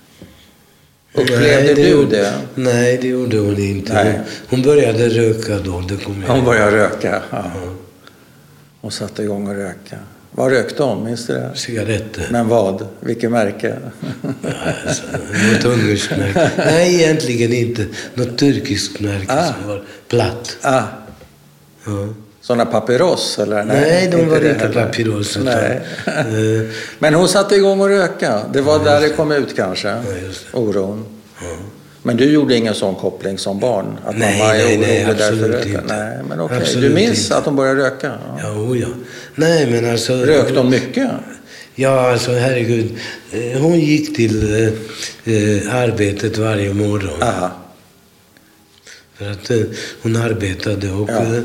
[SPEAKER 2] Upplevde
[SPEAKER 1] Nej,
[SPEAKER 2] du
[SPEAKER 1] gjorde-
[SPEAKER 2] det?
[SPEAKER 1] Nej, det gjorde hon inte.
[SPEAKER 2] Nej.
[SPEAKER 1] Hon började röka då, det kommer jag
[SPEAKER 2] Hon
[SPEAKER 1] ihåg.
[SPEAKER 2] började röka. Ja. Hon satte igång och röka. Vad rökte hon? Minns du det?
[SPEAKER 1] Cigaretter.
[SPEAKER 2] Men vad?
[SPEAKER 1] [laughs]
[SPEAKER 2] Vilket märke?
[SPEAKER 1] Alltså, något ungerskt märke. Nej, egentligen inte. Något turkiskt märke
[SPEAKER 2] Ah.
[SPEAKER 1] som var platt.
[SPEAKER 2] ah,
[SPEAKER 1] Ja.
[SPEAKER 2] sådana papyros eller?
[SPEAKER 1] Nej, de var
[SPEAKER 2] det
[SPEAKER 1] inte
[SPEAKER 2] heller.
[SPEAKER 1] papyros. utan,
[SPEAKER 2] Nej. [laughs]
[SPEAKER 1] eh,
[SPEAKER 2] Men hon satte igång och röka. Det var där det kom ut kanske?
[SPEAKER 1] just
[SPEAKER 2] Oron.
[SPEAKER 1] ja.
[SPEAKER 2] Men du gjorde ingen sån koppling som barn? Att
[SPEAKER 1] Nej,
[SPEAKER 2] mamma är
[SPEAKER 1] nej, nej,
[SPEAKER 2] orolig därför
[SPEAKER 1] absolut
[SPEAKER 2] röker?
[SPEAKER 1] inte.
[SPEAKER 2] Nej, men okej. Du
[SPEAKER 1] Absolut
[SPEAKER 2] minns
[SPEAKER 1] inte.
[SPEAKER 2] att hon började röka? Ja.
[SPEAKER 1] Ja, o ja. Nej, men alltså...
[SPEAKER 2] Rökte hon mycket?
[SPEAKER 1] Ja, alltså herregud. Eh, Hon gick till eh, eh, arbetet varje morgon.
[SPEAKER 2] Aha.
[SPEAKER 1] För att eh, hon arbetade och
[SPEAKER 2] Ja.
[SPEAKER 1] eh,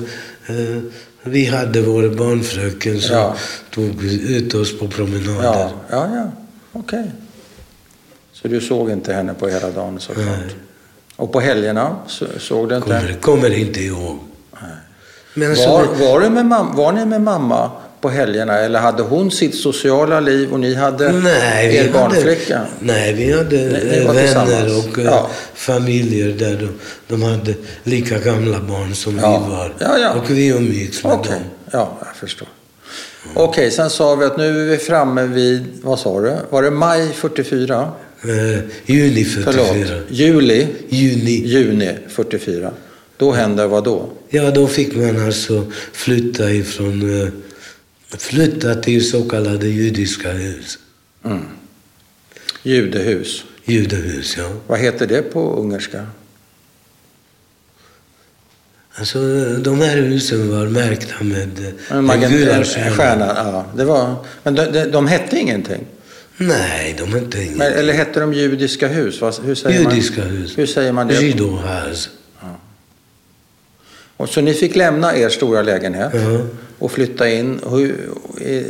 [SPEAKER 1] eh, vi hade vår barnfröken som
[SPEAKER 2] Ja.
[SPEAKER 1] tog ut oss på promenader.
[SPEAKER 2] Ja, ja, ja. okej. Så du såg inte henne på hela dagen såklart?
[SPEAKER 1] Nej.
[SPEAKER 2] Och på helgerna så, såg du inte?
[SPEAKER 1] Kommer, kommer inte ihåg. Men
[SPEAKER 2] Var,
[SPEAKER 1] alltså,
[SPEAKER 2] var, du med mam- var ni med mamma på helgerna eller hade hon sitt sociala liv och ni hade
[SPEAKER 1] nej, vi
[SPEAKER 2] er barnflicka?
[SPEAKER 1] Hade, nej, vi hade
[SPEAKER 2] Ni- ni
[SPEAKER 1] eh,
[SPEAKER 2] var
[SPEAKER 1] vänner
[SPEAKER 2] tillsammans.
[SPEAKER 1] och eh,
[SPEAKER 2] Ja.
[SPEAKER 1] familjer där de, de hade lika gamla barn som
[SPEAKER 2] Ja.
[SPEAKER 1] vi var.
[SPEAKER 2] Ja, ja.
[SPEAKER 1] Och vi umgicks med
[SPEAKER 2] Okej,
[SPEAKER 1] dem.
[SPEAKER 2] ja, jag förstår. Okej, sen sa vi att nu är vi framme vid, vad sa du? Var det maj 44?
[SPEAKER 1] Eh, juni 44.
[SPEAKER 2] Förlåt, juli?
[SPEAKER 1] Juni.
[SPEAKER 2] Juni 44. Då händer vad då?
[SPEAKER 1] Ja, då fick man alltså flytta ifrån... eh, Flytta till så kallade judiska hus.
[SPEAKER 2] Mm. Judehus.
[SPEAKER 1] Judehus, ja.
[SPEAKER 2] Vad heter det på ungerska?
[SPEAKER 1] Alltså, eh, de här husen var märkta med eh,
[SPEAKER 2] En magen-
[SPEAKER 1] den
[SPEAKER 2] en stjärna. Ja, det var, men de, de, de hette ingenting.
[SPEAKER 1] Nej, de hette inget.
[SPEAKER 2] Men, eller hette de judiska hus? Vad- Hur säger
[SPEAKER 1] Judiska
[SPEAKER 2] man?
[SPEAKER 1] hus.
[SPEAKER 2] Hur säger man det?
[SPEAKER 1] Judohus.
[SPEAKER 2] Och så ni fick lämna er stora lägenhet
[SPEAKER 1] Ja.
[SPEAKER 2] och flytta in. Hur, eh,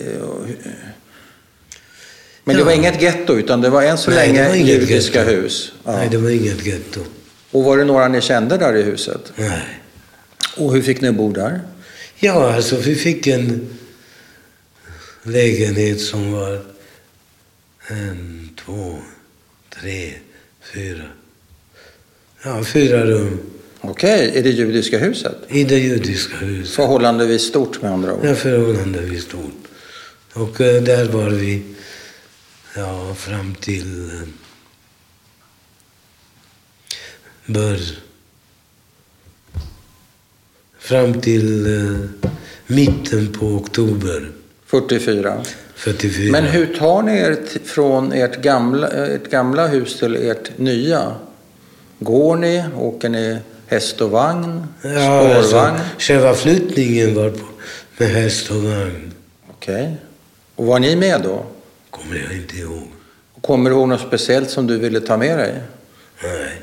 [SPEAKER 2] men det
[SPEAKER 1] Ja.
[SPEAKER 2] var inget getto utan det var än så
[SPEAKER 1] Nej, det
[SPEAKER 2] länge
[SPEAKER 1] var inget
[SPEAKER 2] judiska
[SPEAKER 1] getto.
[SPEAKER 2] hus. Ja.
[SPEAKER 1] Nej, det var inget getto.
[SPEAKER 2] Och var det några ni kände där i huset?
[SPEAKER 1] Nej.
[SPEAKER 2] Och hur fick ni bo där?
[SPEAKER 1] Ja, alltså vi fick en lägenhet som var en, två, tre, fyra. Ja, fyra rum
[SPEAKER 2] Okej, i det judiska huset?
[SPEAKER 1] i det judiska huset.
[SPEAKER 2] Förhållandevis stort med andra ord.
[SPEAKER 1] Ja, förhållandevis stort. Och eh, där var vi ja, fram till eh, bör, fram till eh, mitten på oktober
[SPEAKER 2] 44.
[SPEAKER 1] 44.
[SPEAKER 2] Men hur tar ni er t- från ert gamla, ert gamla hus till ert nya? Går ni? Åker ni häst och vagn?
[SPEAKER 1] ja,
[SPEAKER 2] spårvagn?
[SPEAKER 1] alltså, själva flyttningen var på, med häst och vagn.
[SPEAKER 2] Okej. Och var ni med då?
[SPEAKER 1] Kommer jag inte ihåg.
[SPEAKER 2] Kommer du ihåg något speciellt som du ville ta med dig?
[SPEAKER 1] Nej.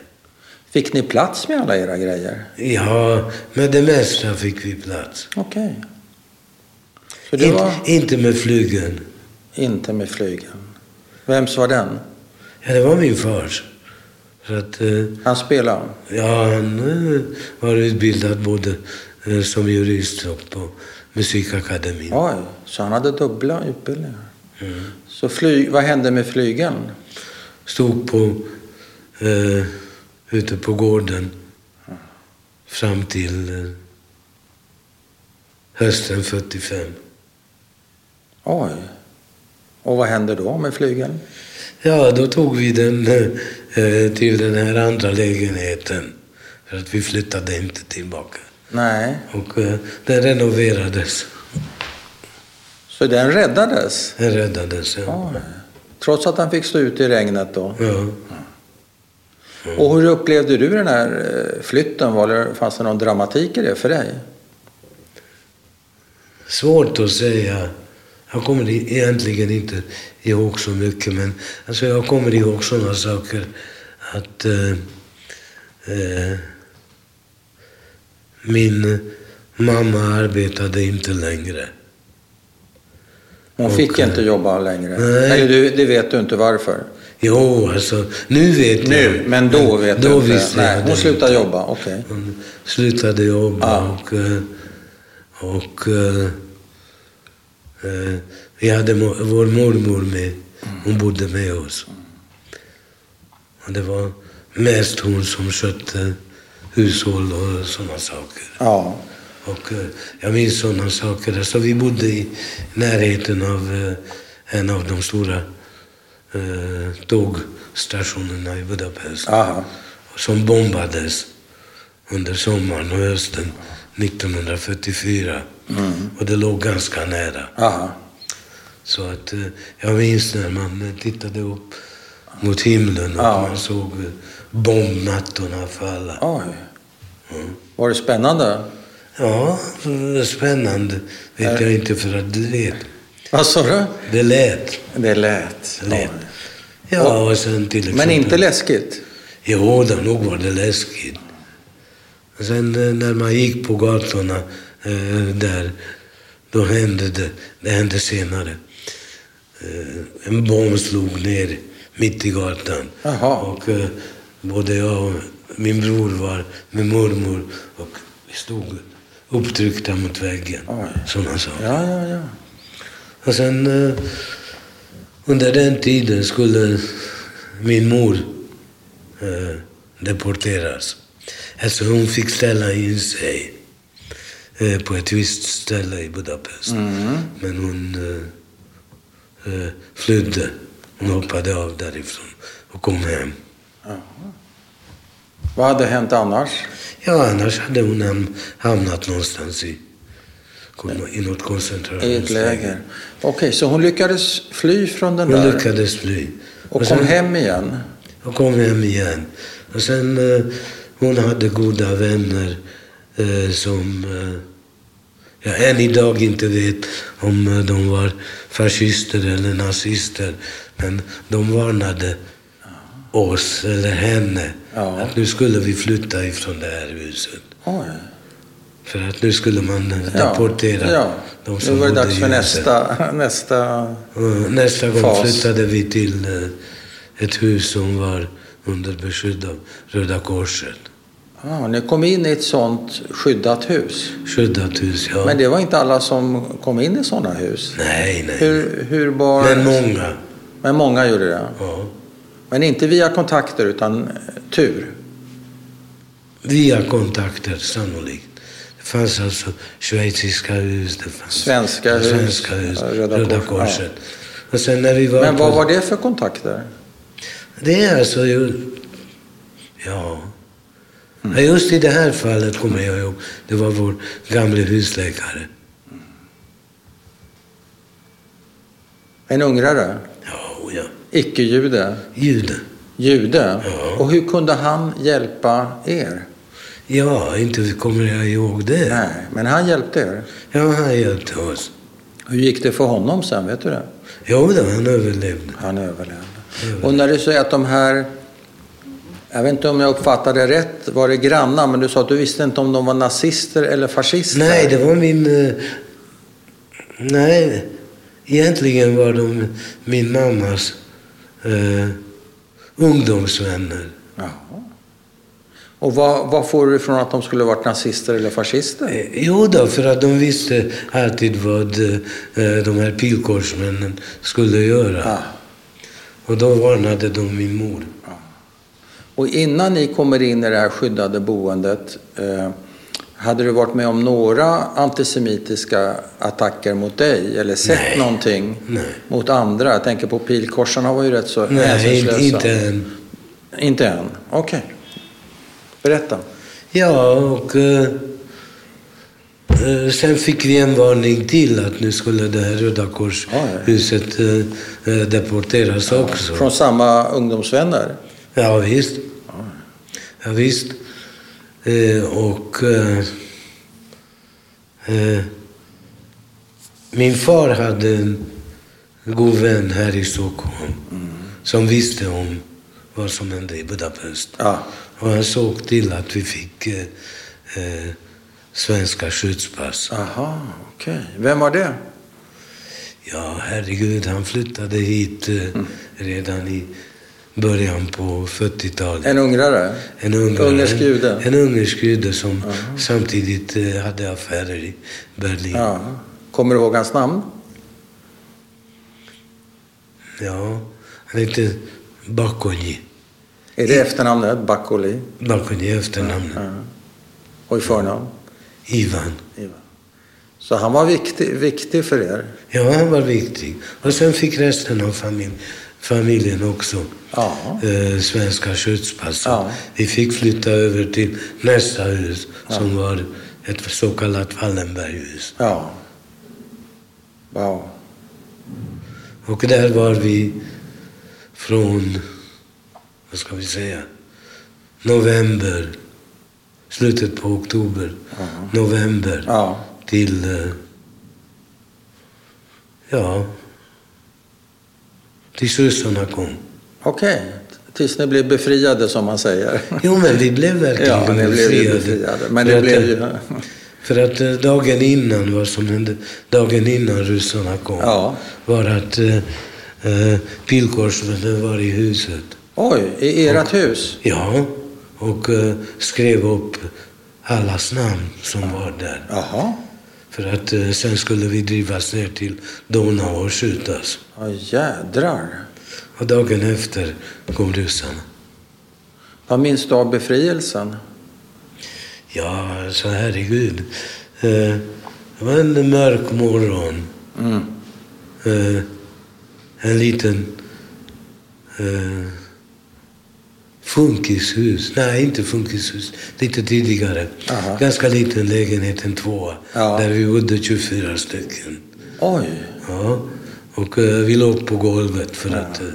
[SPEAKER 2] Fick ni plats med alla era grejer?
[SPEAKER 1] Ja, med det mesta fick vi plats.
[SPEAKER 2] Okej. Så det
[SPEAKER 1] Inte,
[SPEAKER 2] var
[SPEAKER 1] inte med flygen.
[SPEAKER 2] inte med flygen. Vems var den?
[SPEAKER 1] Ja, det var min fars. För att, eh,
[SPEAKER 2] Han spelade?
[SPEAKER 1] ja, han eh, var utbildad både eh, som jurist och på musikakademin.
[SPEAKER 2] Oj, så han hade dubbla utbildningar. Så flyg, vad hände med flygeln?
[SPEAKER 1] Stod på, eh, ute på gården fram till eh, hösten 45.
[SPEAKER 2] Oj. Och vad händer då med flygeln?
[SPEAKER 1] Ja, då tog vi den eh, till den här andra lägenheten. För att vi flyttade inte tillbaka.
[SPEAKER 2] Nej.
[SPEAKER 1] Och eh, den renoverades.
[SPEAKER 2] Så den räddades?
[SPEAKER 1] Den räddades, ja.
[SPEAKER 2] Oj. Trots att han fick stå ute i regnet då?
[SPEAKER 1] ja.
[SPEAKER 2] Och hur upplevde du den här eh, flytten? Var det, fanns det någon dramatik i det för dig?
[SPEAKER 1] Svårt att säga. Jag kommer i- egentligen inte ihåg så mycket, men alltså jag kommer ihåg sådana saker att eh, eh, min mamma arbetade inte längre.
[SPEAKER 2] Hon
[SPEAKER 1] Och,
[SPEAKER 2] fick
[SPEAKER 1] eh,
[SPEAKER 2] inte jobba längre.
[SPEAKER 1] nej.
[SPEAKER 2] Eller du, det vet du inte varför.
[SPEAKER 1] Jo, alltså nu vet
[SPEAKER 2] Nu,
[SPEAKER 1] jag.
[SPEAKER 2] men då vet
[SPEAKER 1] då
[SPEAKER 2] du inte.
[SPEAKER 1] Visste
[SPEAKER 2] Nej,
[SPEAKER 1] jag
[SPEAKER 2] hon
[SPEAKER 1] det
[SPEAKER 2] slutade
[SPEAKER 1] inte.
[SPEAKER 2] jobba, okej.
[SPEAKER 1] Hon slutade jobba
[SPEAKER 2] Ja.
[SPEAKER 1] och, eh, och eh, eh, vi hade mo- vår mormor med. Hon bodde med oss. Och det var mest hon som skötte hushåll och sådana saker.
[SPEAKER 2] Ja.
[SPEAKER 1] Och eh, jag minns sådana saker. Alltså, vi bodde i närheten av eh, en av de stora eh, tågstationerna i Budapest
[SPEAKER 2] Aha.
[SPEAKER 1] som bombades under sommaren och hösten 1944.
[SPEAKER 2] Mm.
[SPEAKER 1] Och det låg ganska nära.
[SPEAKER 2] Aha.
[SPEAKER 1] Så att eh, jag minns när man eh, tittade upp mot himlen och
[SPEAKER 2] Ja.
[SPEAKER 1] man såg eh, bombmattorna falla.
[SPEAKER 2] Oj.
[SPEAKER 1] Mm.
[SPEAKER 2] Var det spännande?
[SPEAKER 1] Ja, det är spännande. Vet jag inte för att du vet.
[SPEAKER 2] Vad sa du?
[SPEAKER 1] Det lät.
[SPEAKER 2] Det lät.
[SPEAKER 1] Det lät. liksom.
[SPEAKER 2] Oj.
[SPEAKER 1] Ja, och sen till exempel...
[SPEAKER 2] Men inte läskigt?
[SPEAKER 1] Jo, då, nog var det läskigt. Sen eh, när man gick på gatorna eh, där, då hände det. Det hände senare. Eh, en bomb slog ner mitt i gatan.
[SPEAKER 2] Jaha.
[SPEAKER 1] Och eh, både jag och min bror var med mormor och vi stod upptryckta mot väggen.
[SPEAKER 2] Oj.
[SPEAKER 1] Sådana saker.
[SPEAKER 2] Ja, ja, ja.
[SPEAKER 1] Och sen eh, under den tiden skulle min mor eh, deporteras. Alltså hon fick ställa in sig eh, på ett visst ställe i Budapest.
[SPEAKER 2] Mm.
[SPEAKER 1] Men hon eh, eh, flydde. Hon hoppade av därifrån och kom hem.
[SPEAKER 2] Vad hade hänt annars?
[SPEAKER 1] Ja, annars hade hon ham- hamnat någonstans i, i något
[SPEAKER 2] I ett
[SPEAKER 1] koncentrationsläger.
[SPEAKER 2] läger. Okej, så hon lyckades fly från den
[SPEAKER 1] Hon
[SPEAKER 2] där
[SPEAKER 1] lyckades fly.
[SPEAKER 2] och kom
[SPEAKER 1] sen-
[SPEAKER 2] hem igen?
[SPEAKER 1] Jag kom hem igen. Och sen, eh, hon hade goda vänner eh, som eh, jag än idag inte vet om eh, de var fascister eller nazister. Men de varnade oss, eller henne,
[SPEAKER 2] Ja.
[SPEAKER 1] att nu skulle vi flytta ifrån det här huset.
[SPEAKER 2] Oj.
[SPEAKER 1] För att nu skulle man eh, rapportera
[SPEAKER 2] ja.
[SPEAKER 1] de
[SPEAKER 2] Nu
[SPEAKER 1] som
[SPEAKER 2] var det
[SPEAKER 1] bodde
[SPEAKER 2] dags
[SPEAKER 1] i
[SPEAKER 2] för
[SPEAKER 1] huset.
[SPEAKER 2] nästa, [laughs] nästa...
[SPEAKER 1] Och Eh, Nästa gång
[SPEAKER 2] Fas.
[SPEAKER 1] flyttade vi till eh, ett hus som var under beskydd av Röda Korset.
[SPEAKER 2] Ah, ni kom in i ett sånt skyddat hus.
[SPEAKER 1] Skyddat hus, ja.
[SPEAKER 2] Men det var inte alla som kom in i sådana hus.
[SPEAKER 1] Nej, nej.
[SPEAKER 2] Hur, hur var...
[SPEAKER 1] Men många.
[SPEAKER 2] Men många gjorde det.
[SPEAKER 1] Ja.
[SPEAKER 2] Men inte via kontakter utan eh, tur.
[SPEAKER 1] Via kontakter, sannolikt. Det fanns alltså schweiziska hus, det fanns
[SPEAKER 2] Svenska hus,
[SPEAKER 1] svenska hus,
[SPEAKER 2] ja, Röda
[SPEAKER 1] Röda,
[SPEAKER 2] Kors-
[SPEAKER 1] Korset. Och sen när vi var
[SPEAKER 2] Men vad
[SPEAKER 1] på-
[SPEAKER 2] var det för kontakter?
[SPEAKER 1] Det är alltså ju... Ja.
[SPEAKER 2] Mm.
[SPEAKER 1] Ja, Just i det här fallet kommer jag ihåg. Det var vår gamle husläkare.
[SPEAKER 2] En ungrare?
[SPEAKER 1] Ja, oh ja.
[SPEAKER 2] Icke-jude?
[SPEAKER 1] Jude.
[SPEAKER 2] Jude?
[SPEAKER 1] Ja.
[SPEAKER 2] Och hur kunde han hjälpa er?
[SPEAKER 1] Ja, inte kommer jag ihåg det.
[SPEAKER 2] Nej, men han hjälpte er.
[SPEAKER 1] Ja, han hjälpte oss.
[SPEAKER 2] Hur gick det för honom sen? Vet du det?
[SPEAKER 1] Jo, då, han överlevde.
[SPEAKER 2] Han överlevde. Och när du säger att de här... Jag vet inte om jag uppfattade det rätt. Var det grannar? Men du sa att du visste inte om de var nazister eller fascister.
[SPEAKER 1] Nej, det var min... eh, Nej, egentligen var de min mammas eh, ungdomsvänner.
[SPEAKER 2] Jaha. Och vad, vad får du ifrån att de skulle varit nazister eller fascister?
[SPEAKER 1] Eh, Jo då, för att de visste alltid vad eh, de här pilkorsmännen skulle göra.
[SPEAKER 2] Ah.
[SPEAKER 1] Och då varnade de min mor.
[SPEAKER 2] Och innan ni kommer in i det här skyddade boendet, eh, hade du varit med om några antisemitiska attacker mot dig? Eller sett
[SPEAKER 1] Nej.
[SPEAKER 2] någonting
[SPEAKER 1] Nej.
[SPEAKER 2] mot andra? Jag tänker på pilkorsarna var ju rätt så
[SPEAKER 1] Nej, inte,
[SPEAKER 2] hänsynslösa.
[SPEAKER 1] inte än.
[SPEAKER 2] Inte än? Okej. Berätta.
[SPEAKER 1] Ja, och eh, eh, sen fick vi en varning till att nu skulle det här Röda Kors-huset eh, eh, deporteras också.
[SPEAKER 2] Från samma ungdomsvänner?
[SPEAKER 1] Ja, visst. Ja, visst. Eh, och... Eh, eh, min far hade en god vän här i Stockholm som visste om vad som hände i Budapest.
[SPEAKER 2] Ja.
[SPEAKER 1] Och han såg till att vi fick eh, eh, svenska skyddspass.
[SPEAKER 2] Aha, okej. Vem var det?
[SPEAKER 1] Ja, herregud, han flyttade hit eh, redan i början på 40-talet.
[SPEAKER 2] En ungrare?
[SPEAKER 1] En ungrare,
[SPEAKER 2] Ungersk jude?
[SPEAKER 1] En, en ungersk jude som samtidigt eh, hade affärer i Berlin. Ja.
[SPEAKER 2] Ja. Kommer du ihåg hans namn?
[SPEAKER 1] Han hette Bakonji.
[SPEAKER 2] Är det efternamnet? Bakoli?
[SPEAKER 1] Bakonji i efternamn.
[SPEAKER 2] Ja. Och i förnamn?
[SPEAKER 1] Ivan.
[SPEAKER 2] Ivan. Så han var viktig, viktig för er?
[SPEAKER 1] Ja, han var viktig. Och sen fick resten av famil familjen också
[SPEAKER 2] Ja.
[SPEAKER 1] eh, svenska skyddspass.
[SPEAKER 2] Ja.
[SPEAKER 1] Vi fick flytta över till nästa hus som var ett så kallat Wallenberghus.
[SPEAKER 2] Ja. Wow.
[SPEAKER 1] Och där var vi från, vad ska vi säga, november, slutet på oktober, november
[SPEAKER 2] Ja.
[SPEAKER 1] till, eh, ja, tills ryssarna kom.
[SPEAKER 2] Okej. Tills ni blev befriade som man säger.
[SPEAKER 1] Jo, men vi blev verkligen
[SPEAKER 2] Ja, ni blev ju befriade. Men
[SPEAKER 1] För
[SPEAKER 2] det
[SPEAKER 1] att,
[SPEAKER 2] blev ju...
[SPEAKER 1] eh, För att eh, dagen innan, vad som hände, dagen innan ryssarna kom,
[SPEAKER 2] Ja.
[SPEAKER 1] var att eh, eh, pilkorsmännen var i huset.
[SPEAKER 2] Oj, i ert hus?
[SPEAKER 1] Ja, och eh, skrev upp allas namn som var där.
[SPEAKER 2] Jaha.
[SPEAKER 1] För att eh, sen skulle vi drivas ner till Donau och skjutas.
[SPEAKER 2] Ja, jädrar.
[SPEAKER 1] Och dagen efter kom ryssarna.
[SPEAKER 2] Vad minns du av befrielsen?
[SPEAKER 1] Ja, så herregud. Eh, det var en mörk morgon.
[SPEAKER 2] Mm.
[SPEAKER 1] Eh, en liten eh, funkishus. Nej, inte funkishus. Lite tidigare.
[SPEAKER 2] Aha.
[SPEAKER 1] Ganska liten lägenhet, en tvåa.
[SPEAKER 2] Ja.
[SPEAKER 1] Där vi bodde 24 stycken.
[SPEAKER 2] Oj.
[SPEAKER 1] Ja. Och eh, vi låg på golvet för att eh,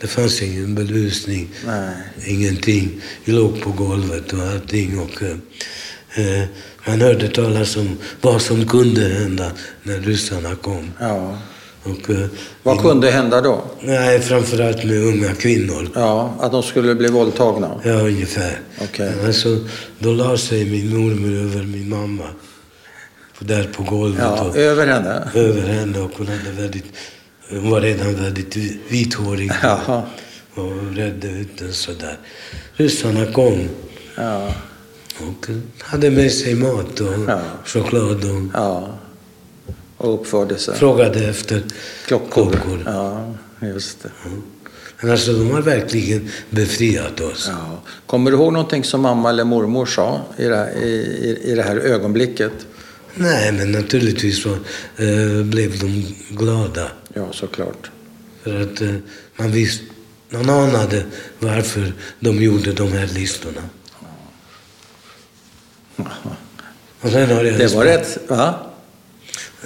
[SPEAKER 1] det fanns ingen belysning.
[SPEAKER 2] Nej.
[SPEAKER 1] Ingenting. Vi låg på golvet och allting. Och, eh, eh, man hörde talas om vad som kunde hända när ryssarna kom.
[SPEAKER 2] Ja.
[SPEAKER 1] Och, eh,
[SPEAKER 2] Vad
[SPEAKER 1] vi-
[SPEAKER 2] kunde hända då?
[SPEAKER 1] Nej, framförallt med unga kvinnor.
[SPEAKER 2] Ja, att de skulle bli våldtagna?
[SPEAKER 1] Ja, ungefär.
[SPEAKER 2] Okej.
[SPEAKER 1] Men Alltså, då la sig min mormor över min mamma. Där på golvet.
[SPEAKER 2] Ja,
[SPEAKER 1] och,
[SPEAKER 2] över henne?
[SPEAKER 1] över henne och hon, hade väldigt, hon var redan väldigt vi- vithårig.
[SPEAKER 2] Jaha.
[SPEAKER 1] Och redde ut den sådär. Ryssarna kom
[SPEAKER 2] Ja.
[SPEAKER 1] och hade med sig mat och
[SPEAKER 2] Ja.
[SPEAKER 1] choklad och
[SPEAKER 2] ja. Och uppförde sig?
[SPEAKER 1] frågade efter
[SPEAKER 2] Klockor.
[SPEAKER 1] klockor.
[SPEAKER 2] Ja, just det.
[SPEAKER 1] Men alltså de har verkligen befriat oss.
[SPEAKER 2] Ja. Kommer du ihåg någonting som mamma eller mormor sa i det här, i, i, i det här ögonblicket?
[SPEAKER 1] Nej, men naturligtvis var, eh, blev de glada.
[SPEAKER 2] Ja, såklart.
[SPEAKER 1] För att eh, man visste, man anade varför de gjorde de här listorna. Och sen har jag en
[SPEAKER 2] Det var
[SPEAKER 1] spe-
[SPEAKER 2] rätt, va?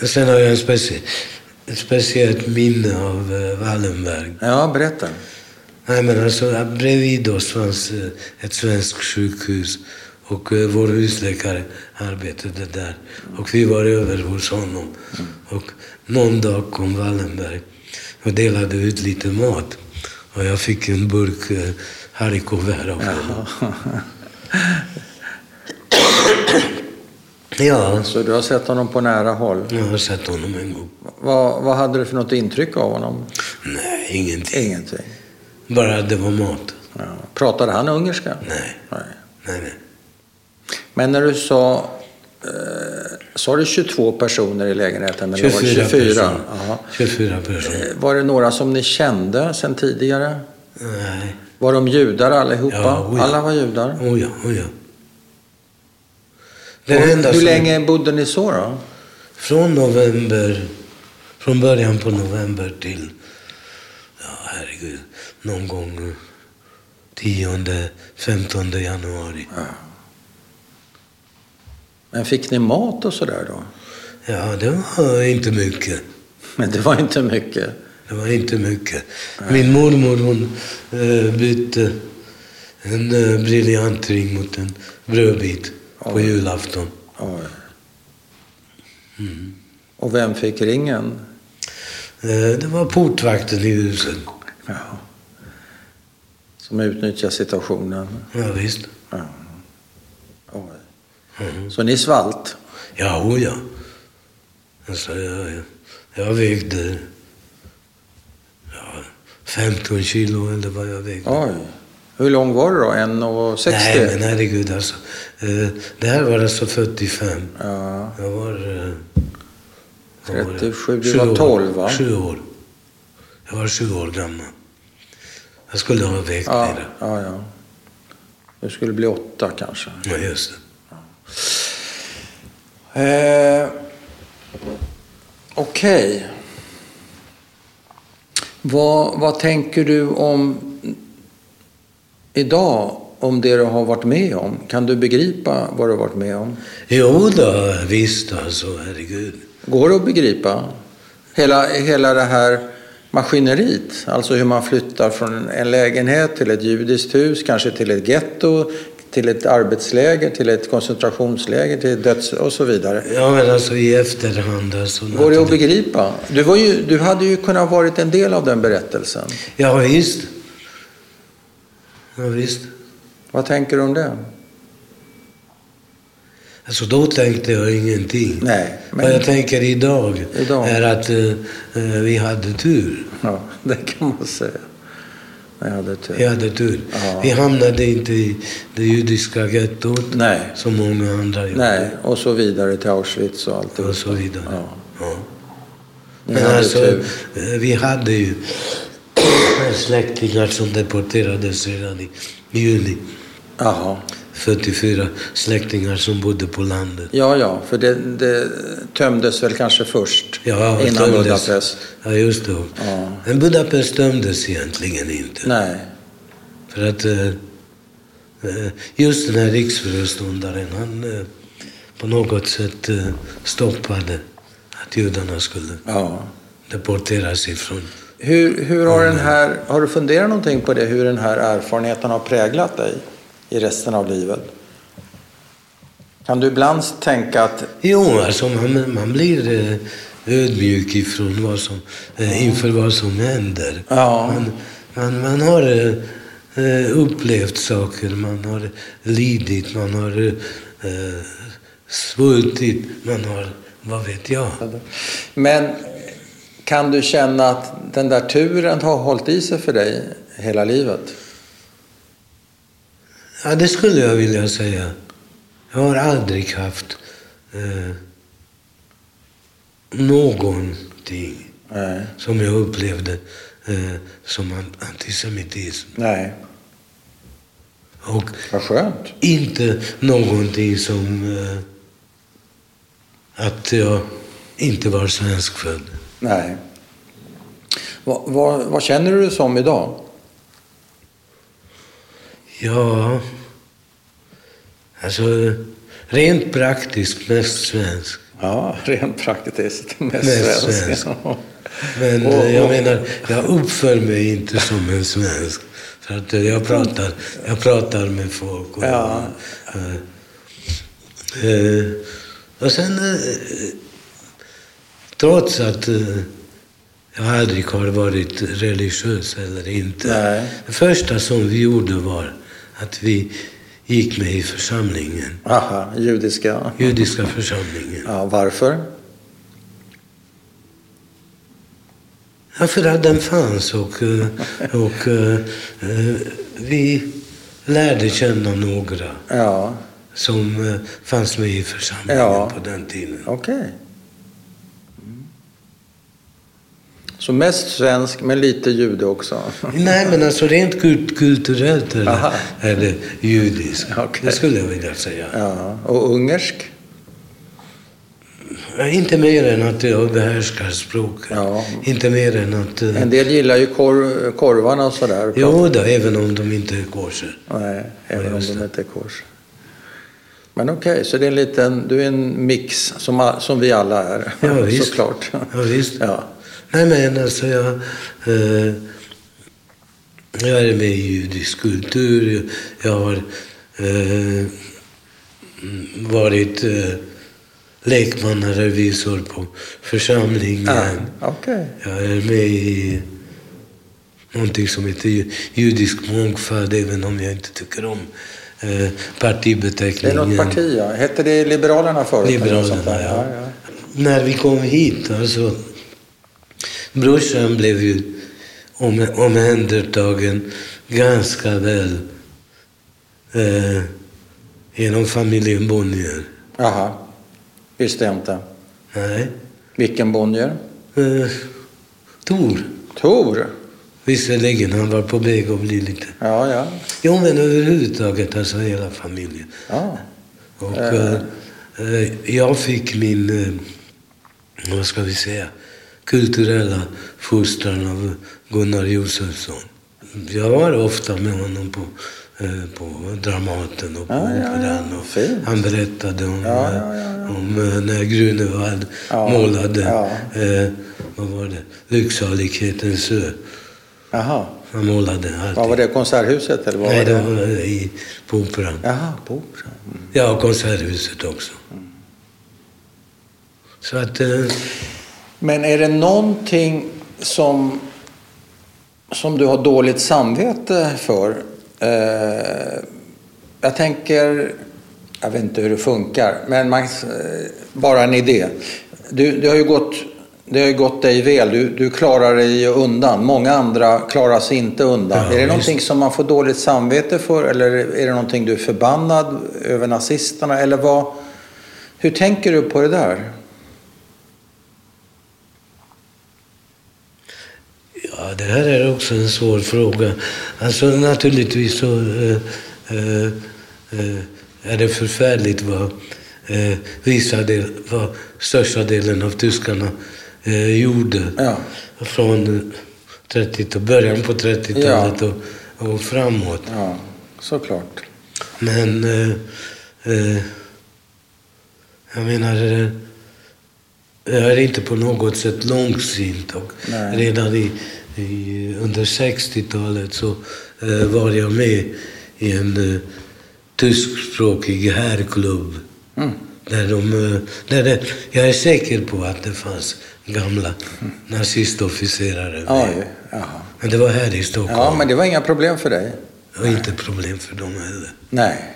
[SPEAKER 1] Sen har jag en specie, ett speciellt minne av eh, Wallenberg.
[SPEAKER 2] Ja, berätta.
[SPEAKER 1] Nej, men alltså, här bredvid oss fanns eh, ett svenskt sjukhus och eh, vår husläkare arbetade där. Och vi var över hos honom.
[SPEAKER 2] Mm.
[SPEAKER 1] Och någon dag kom Wallenberg och delade ut lite mat. Och jag fick en burk eh, haricots-vär av honom. Ja,
[SPEAKER 2] Så du har sett honom på nära håll.
[SPEAKER 1] jag har sett honom en gång.
[SPEAKER 2] Vad, vad hade du för något intryck av honom?
[SPEAKER 1] Nej, ingenting.
[SPEAKER 2] Ingenting.
[SPEAKER 1] Bara att det var mat.
[SPEAKER 2] Ja. Pratade han ungerska?
[SPEAKER 1] Nej,
[SPEAKER 2] Nej.
[SPEAKER 1] nej, nej.
[SPEAKER 2] Men när du sa... Eh, sa du 22 personer i lägenheten? Eller var det
[SPEAKER 1] 24
[SPEAKER 2] 24?
[SPEAKER 1] personer.
[SPEAKER 2] Jaha.
[SPEAKER 1] 24 personer.
[SPEAKER 2] Eh, Var det några som ni kände sen tidigare?
[SPEAKER 1] Nej.
[SPEAKER 2] Var de judar allihopa?
[SPEAKER 1] Ja, oj.
[SPEAKER 2] Alla var judar.
[SPEAKER 1] Oh ja, oh ja. Den
[SPEAKER 2] Och
[SPEAKER 1] enda
[SPEAKER 2] hur
[SPEAKER 1] som-
[SPEAKER 2] länge bodde ni så då?
[SPEAKER 1] Från november, från början på november till, ja herregud, någon gång eh, 10, 15 januari.
[SPEAKER 2] Men fick ni mat och sådär då? [laughs]
[SPEAKER 1] Ja, det var inte mycket.
[SPEAKER 2] Men det var inte mycket.
[SPEAKER 1] Det var inte mycket. Min mormor hon eh, bytte en eh, briljant ring mot en brödbit på
[SPEAKER 2] Oj.
[SPEAKER 1] julafton.
[SPEAKER 2] Oj.
[SPEAKER 1] Mm.
[SPEAKER 2] Och vem fick ringen?
[SPEAKER 1] Eh, det var portvakten i huset.
[SPEAKER 2] Ja. Som utnyttjar situationen.
[SPEAKER 1] Ja, visst.
[SPEAKER 2] Ja. Oj. Så ni svalt?
[SPEAKER 1] Ja, o ja. Alltså, jag, jag, jag vägde ja, 15 kilo eller vad jag vägde.
[SPEAKER 2] Oj. Hur lång var du då? 1,60?
[SPEAKER 1] Nej, men herregud alltså. Eh, det här var alltså 45.
[SPEAKER 2] Ja.
[SPEAKER 1] Jag var... Eh, vad var jag?
[SPEAKER 2] 37, du
[SPEAKER 1] Sju
[SPEAKER 2] var
[SPEAKER 1] år.
[SPEAKER 2] 12, va?
[SPEAKER 1] Sju år. Jag var sju år gammal. Jag skulle ha vägt
[SPEAKER 2] Ja,
[SPEAKER 1] det.
[SPEAKER 2] ja, ja. Du skulle bli åtta kanske.
[SPEAKER 1] Ja, just det.
[SPEAKER 2] Eh, Okej. Vad, vad tänker du om idag? Om det du har varit med om? Kan du begripa vad du har varit med om?
[SPEAKER 1] Jo då, visst alltså, herregud.
[SPEAKER 2] Går det att begripa? Hela, hela det här maskineriet, alltså hur man flyttar från en lägenhet till ett judiskt hus, kanske till ett getto, till ett arbetsläger, till ett koncentrationsläger, till döds och så vidare.
[SPEAKER 1] Ja, men alltså i efterhand alltså.
[SPEAKER 2] Går det att begripa? Du, var ju, du hade ju kunnat varit en del av den berättelsen.
[SPEAKER 1] Ja, visst. Ja, visst.
[SPEAKER 2] Vad tänker du om det?
[SPEAKER 1] Alltså då tänkte jag ingenting.
[SPEAKER 2] Nej,
[SPEAKER 1] Vad jag
[SPEAKER 2] men
[SPEAKER 1] tänker idag,
[SPEAKER 2] Idag.
[SPEAKER 1] är att eh, eh, vi hade tur.
[SPEAKER 2] ja, det kan man säga. Nej, jag hade tur.
[SPEAKER 1] Vi hade tur.
[SPEAKER 2] Ja.
[SPEAKER 1] Vi hamnade inte i det judiska gettot
[SPEAKER 2] Nej.
[SPEAKER 1] som många andra gjorde.
[SPEAKER 2] Nej, och så vidare till Auschwitz och allt
[SPEAKER 1] Och så vidare.
[SPEAKER 2] Ja.
[SPEAKER 1] Ja.
[SPEAKER 2] Ni
[SPEAKER 1] Men
[SPEAKER 2] hade
[SPEAKER 1] alltså,
[SPEAKER 2] tur.
[SPEAKER 1] eh, vi hade ju [coughs] släktingar som deporterades redan i juni.
[SPEAKER 2] Jaha.
[SPEAKER 1] 44 släktingar som bodde på landet.
[SPEAKER 2] Ja, ja, för det, det tömdes väl kanske först
[SPEAKER 1] Ja,
[SPEAKER 2] innan
[SPEAKER 1] tömdes.
[SPEAKER 2] Budapest.
[SPEAKER 1] Ja, just det.
[SPEAKER 2] Ja.
[SPEAKER 1] Men Budapest dömdes egentligen inte.
[SPEAKER 2] Nej,
[SPEAKER 1] För att eh, eh, just den här riksföreståndaren, han eh, på något sätt eh, stoppade att judarna skulle
[SPEAKER 2] ja.
[SPEAKER 1] deporteras ifrån.
[SPEAKER 2] Hur, hur har den här, har du funderat någonting på det, hur den här erfarenheten har präglat dig i resten av livet? Kan du ibland tänka att,
[SPEAKER 1] Jo, alltså man, man blir eh, ödmjuk ifrån vad som, eh, inför vad som händer.
[SPEAKER 2] ja,
[SPEAKER 1] Man, man, man har eh, eh, upplevt saker, man har lidit, man har eh, svultit, man har, vad vet jag.
[SPEAKER 2] men kan du känna att den där turen har hållit i sig för dig hela livet?
[SPEAKER 1] Ja, det skulle jag vilja säga. Jag har aldrig haft eh, någonting
[SPEAKER 2] Nej.
[SPEAKER 1] som jag upplevde eh, som an- antisemitism.
[SPEAKER 2] Nej.
[SPEAKER 1] Och
[SPEAKER 2] Vad skönt.
[SPEAKER 1] inte någonting som eh, att jag inte var svenskfödd.
[SPEAKER 2] Nej. Vad, vad, vad känner du dig som idag?
[SPEAKER 1] Ja, alltså rent praktiskt mest svensk.
[SPEAKER 2] Ja, [laughs] rent praktiskt. Mest,
[SPEAKER 1] Mest
[SPEAKER 2] svensk. [laughs]
[SPEAKER 1] svensk. Men
[SPEAKER 2] Och-
[SPEAKER 1] eh, jag
[SPEAKER 2] och-
[SPEAKER 1] menar, jag uppför mig inte som en svensk. För att eh, jag pratar, jag pratar med folk. Och,
[SPEAKER 2] Ja.
[SPEAKER 1] eh, eh, och sen, eh, trots att eh, jag aldrig har varit religiös eller inte.
[SPEAKER 2] Nej.
[SPEAKER 1] Det första som vi gjorde var att vi gick med i församlingen.
[SPEAKER 2] Aha, judiska.
[SPEAKER 1] Judiska församlingen.
[SPEAKER 2] Ja, varför?
[SPEAKER 1] Ja, för att den fanns och, eh, och eh, eh, vi lärde känna några
[SPEAKER 2] Ja,
[SPEAKER 1] som eh, fanns med i församlingen
[SPEAKER 2] Ja.
[SPEAKER 1] på den tiden.
[SPEAKER 2] okej. Mm. Så mest svensk, men lite jude också.
[SPEAKER 1] Nej, men alltså rent kult, kulturellt är
[SPEAKER 2] Aha.
[SPEAKER 1] det, är det judisk.
[SPEAKER 2] Okej.
[SPEAKER 1] Det skulle jag vilja säga.
[SPEAKER 2] [laughs] Ja, och ungersk?
[SPEAKER 1] Inte mer än att jag behärskar språket.
[SPEAKER 2] Ja.
[SPEAKER 1] Inte mer än att... eh,
[SPEAKER 2] En del gillar ju korv, korvarna och sådär.
[SPEAKER 1] Jo, då, även om de inte är korser.
[SPEAKER 2] Nej, även om
[SPEAKER 1] just
[SPEAKER 2] de
[SPEAKER 1] det.
[SPEAKER 2] inte är kors. Men okej, så det är en liten, du är en mix som, a- som vi alla är.
[SPEAKER 1] Ja, visst.
[SPEAKER 2] Såklart.
[SPEAKER 1] Ja, visst.
[SPEAKER 2] Ja.
[SPEAKER 1] Nej, men alltså jag... Eh, jag är med i judisk kultur. Jag har eh, varit eh, lekmannarevisor på församlingen.
[SPEAKER 2] Ah, Okej.
[SPEAKER 1] Jag är med i någonting som heter ju- judisk mångfald, även om jag inte tycker om eh,
[SPEAKER 2] Det är
[SPEAKER 1] partibeteckningen.
[SPEAKER 2] något parti, ja. Hette det Liberalerna förut? eller något sånt
[SPEAKER 1] Liberalerna,
[SPEAKER 2] där?
[SPEAKER 1] ja. När vi kom hit, alltså... Brorsan blev ju om, omhändertagen ganska väl eh, genom familjen Bonnier.
[SPEAKER 2] ja. Aha. Visste jag inte.
[SPEAKER 1] Nej.
[SPEAKER 2] Vilken Bonnier?
[SPEAKER 1] Eh, Tor.
[SPEAKER 2] Tor?
[SPEAKER 1] Visserligen, han var på väg att bli lite...
[SPEAKER 2] Ja, ja.
[SPEAKER 1] Jo, men överhuvudtaget, alltså hela familjen.
[SPEAKER 2] ja.
[SPEAKER 1] Och
[SPEAKER 2] Eh.
[SPEAKER 1] eh, eh, jag fick min, eh, vad ska vi säga, kulturella fostran av Gunnar Josefsson. Jag var ofta med honom på, eh, på Dramaten och på
[SPEAKER 2] Ja, ja, ja.
[SPEAKER 1] Operan. Och
[SPEAKER 2] Fint.
[SPEAKER 1] han berättade om,
[SPEAKER 2] Ja,
[SPEAKER 1] eh,
[SPEAKER 2] ja, ja,
[SPEAKER 1] om eh, när Grunewald
[SPEAKER 2] Ja,
[SPEAKER 1] målade,
[SPEAKER 2] ja.
[SPEAKER 1] eh, vad var det, Lycksalighetens ö.
[SPEAKER 2] Jaha.
[SPEAKER 1] Han målade alltid.
[SPEAKER 2] Vad var det? Konserthuset? Eller vad
[SPEAKER 1] Nej,
[SPEAKER 2] var
[SPEAKER 1] det
[SPEAKER 2] det?
[SPEAKER 1] var eh, i, på Operan.
[SPEAKER 2] Jaha, på Operan. Mm.
[SPEAKER 1] Ja, och Konserthuset också. Så att... Eh,
[SPEAKER 2] Men är det någonting som, som du har dåligt samvete för? Eh, jag tänker, jag vet inte hur det funkar, men man, eh, bara en idé. Du, det, har ju gått, det har ju gått dig väl, du, du klarar dig ju undan. Många andra klarar sig inte undan.
[SPEAKER 1] Ja,
[SPEAKER 2] är det
[SPEAKER 1] visst.
[SPEAKER 2] någonting som man får dåligt samvete för eller är det någonting du är förbannad över nazisterna? Eller vad, hur tänker du på det där?
[SPEAKER 1] ja, det här är också en svår fråga. Alltså naturligtvis så eh, eh, eh, är det förfärligt vad, eh, vissa del, vad största delen av tyskarna eh, gjorde.
[SPEAKER 2] Ja.
[SPEAKER 1] Från eh, 30 början på 30-talet och, och framåt.
[SPEAKER 2] Ja, såklart.
[SPEAKER 1] Men... Eh, eh, jag menar... eh, Jag är inte på något sätt långsint. Och
[SPEAKER 2] Nej.
[SPEAKER 1] redan i, i, under 60-talet så eh, var jag med i en eh, tyskspråkig herrklubb.
[SPEAKER 2] Mm.
[SPEAKER 1] Där de, eh, där det, jag är säker på att det fanns gamla nazistofficerare med.
[SPEAKER 2] Oj, jaha.
[SPEAKER 1] Men det var här i Stockholm.
[SPEAKER 2] Ja, men det var inga problem för dig.
[SPEAKER 1] Och inte problem för dem heller.
[SPEAKER 2] Nej.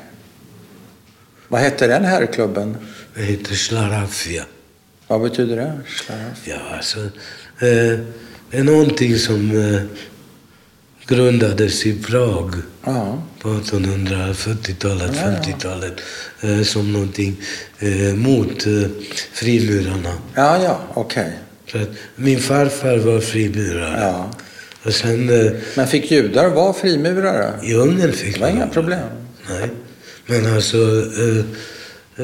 [SPEAKER 2] Vad hette den här klubben?
[SPEAKER 1] Det heter Slarafia.
[SPEAKER 2] Vad betyder det? Schlaf?
[SPEAKER 1] Ja, alltså, eh, det är någonting som eh, grundades i Prag
[SPEAKER 2] Ja.
[SPEAKER 1] på 1840-talet,
[SPEAKER 2] Ja, ja.
[SPEAKER 1] 50-talet eh, som någonting eh, mot eh, frimurarna.
[SPEAKER 2] Ja, ja, okej.
[SPEAKER 1] För att min farfar var frimurare.
[SPEAKER 2] Ja.
[SPEAKER 1] Och sen eh,
[SPEAKER 2] Men fick judar vara frimurare?
[SPEAKER 1] i Ungern fick
[SPEAKER 2] Det var
[SPEAKER 1] man
[SPEAKER 2] inga
[SPEAKER 1] det.
[SPEAKER 2] problem.
[SPEAKER 1] Nej. Men alltså, eh,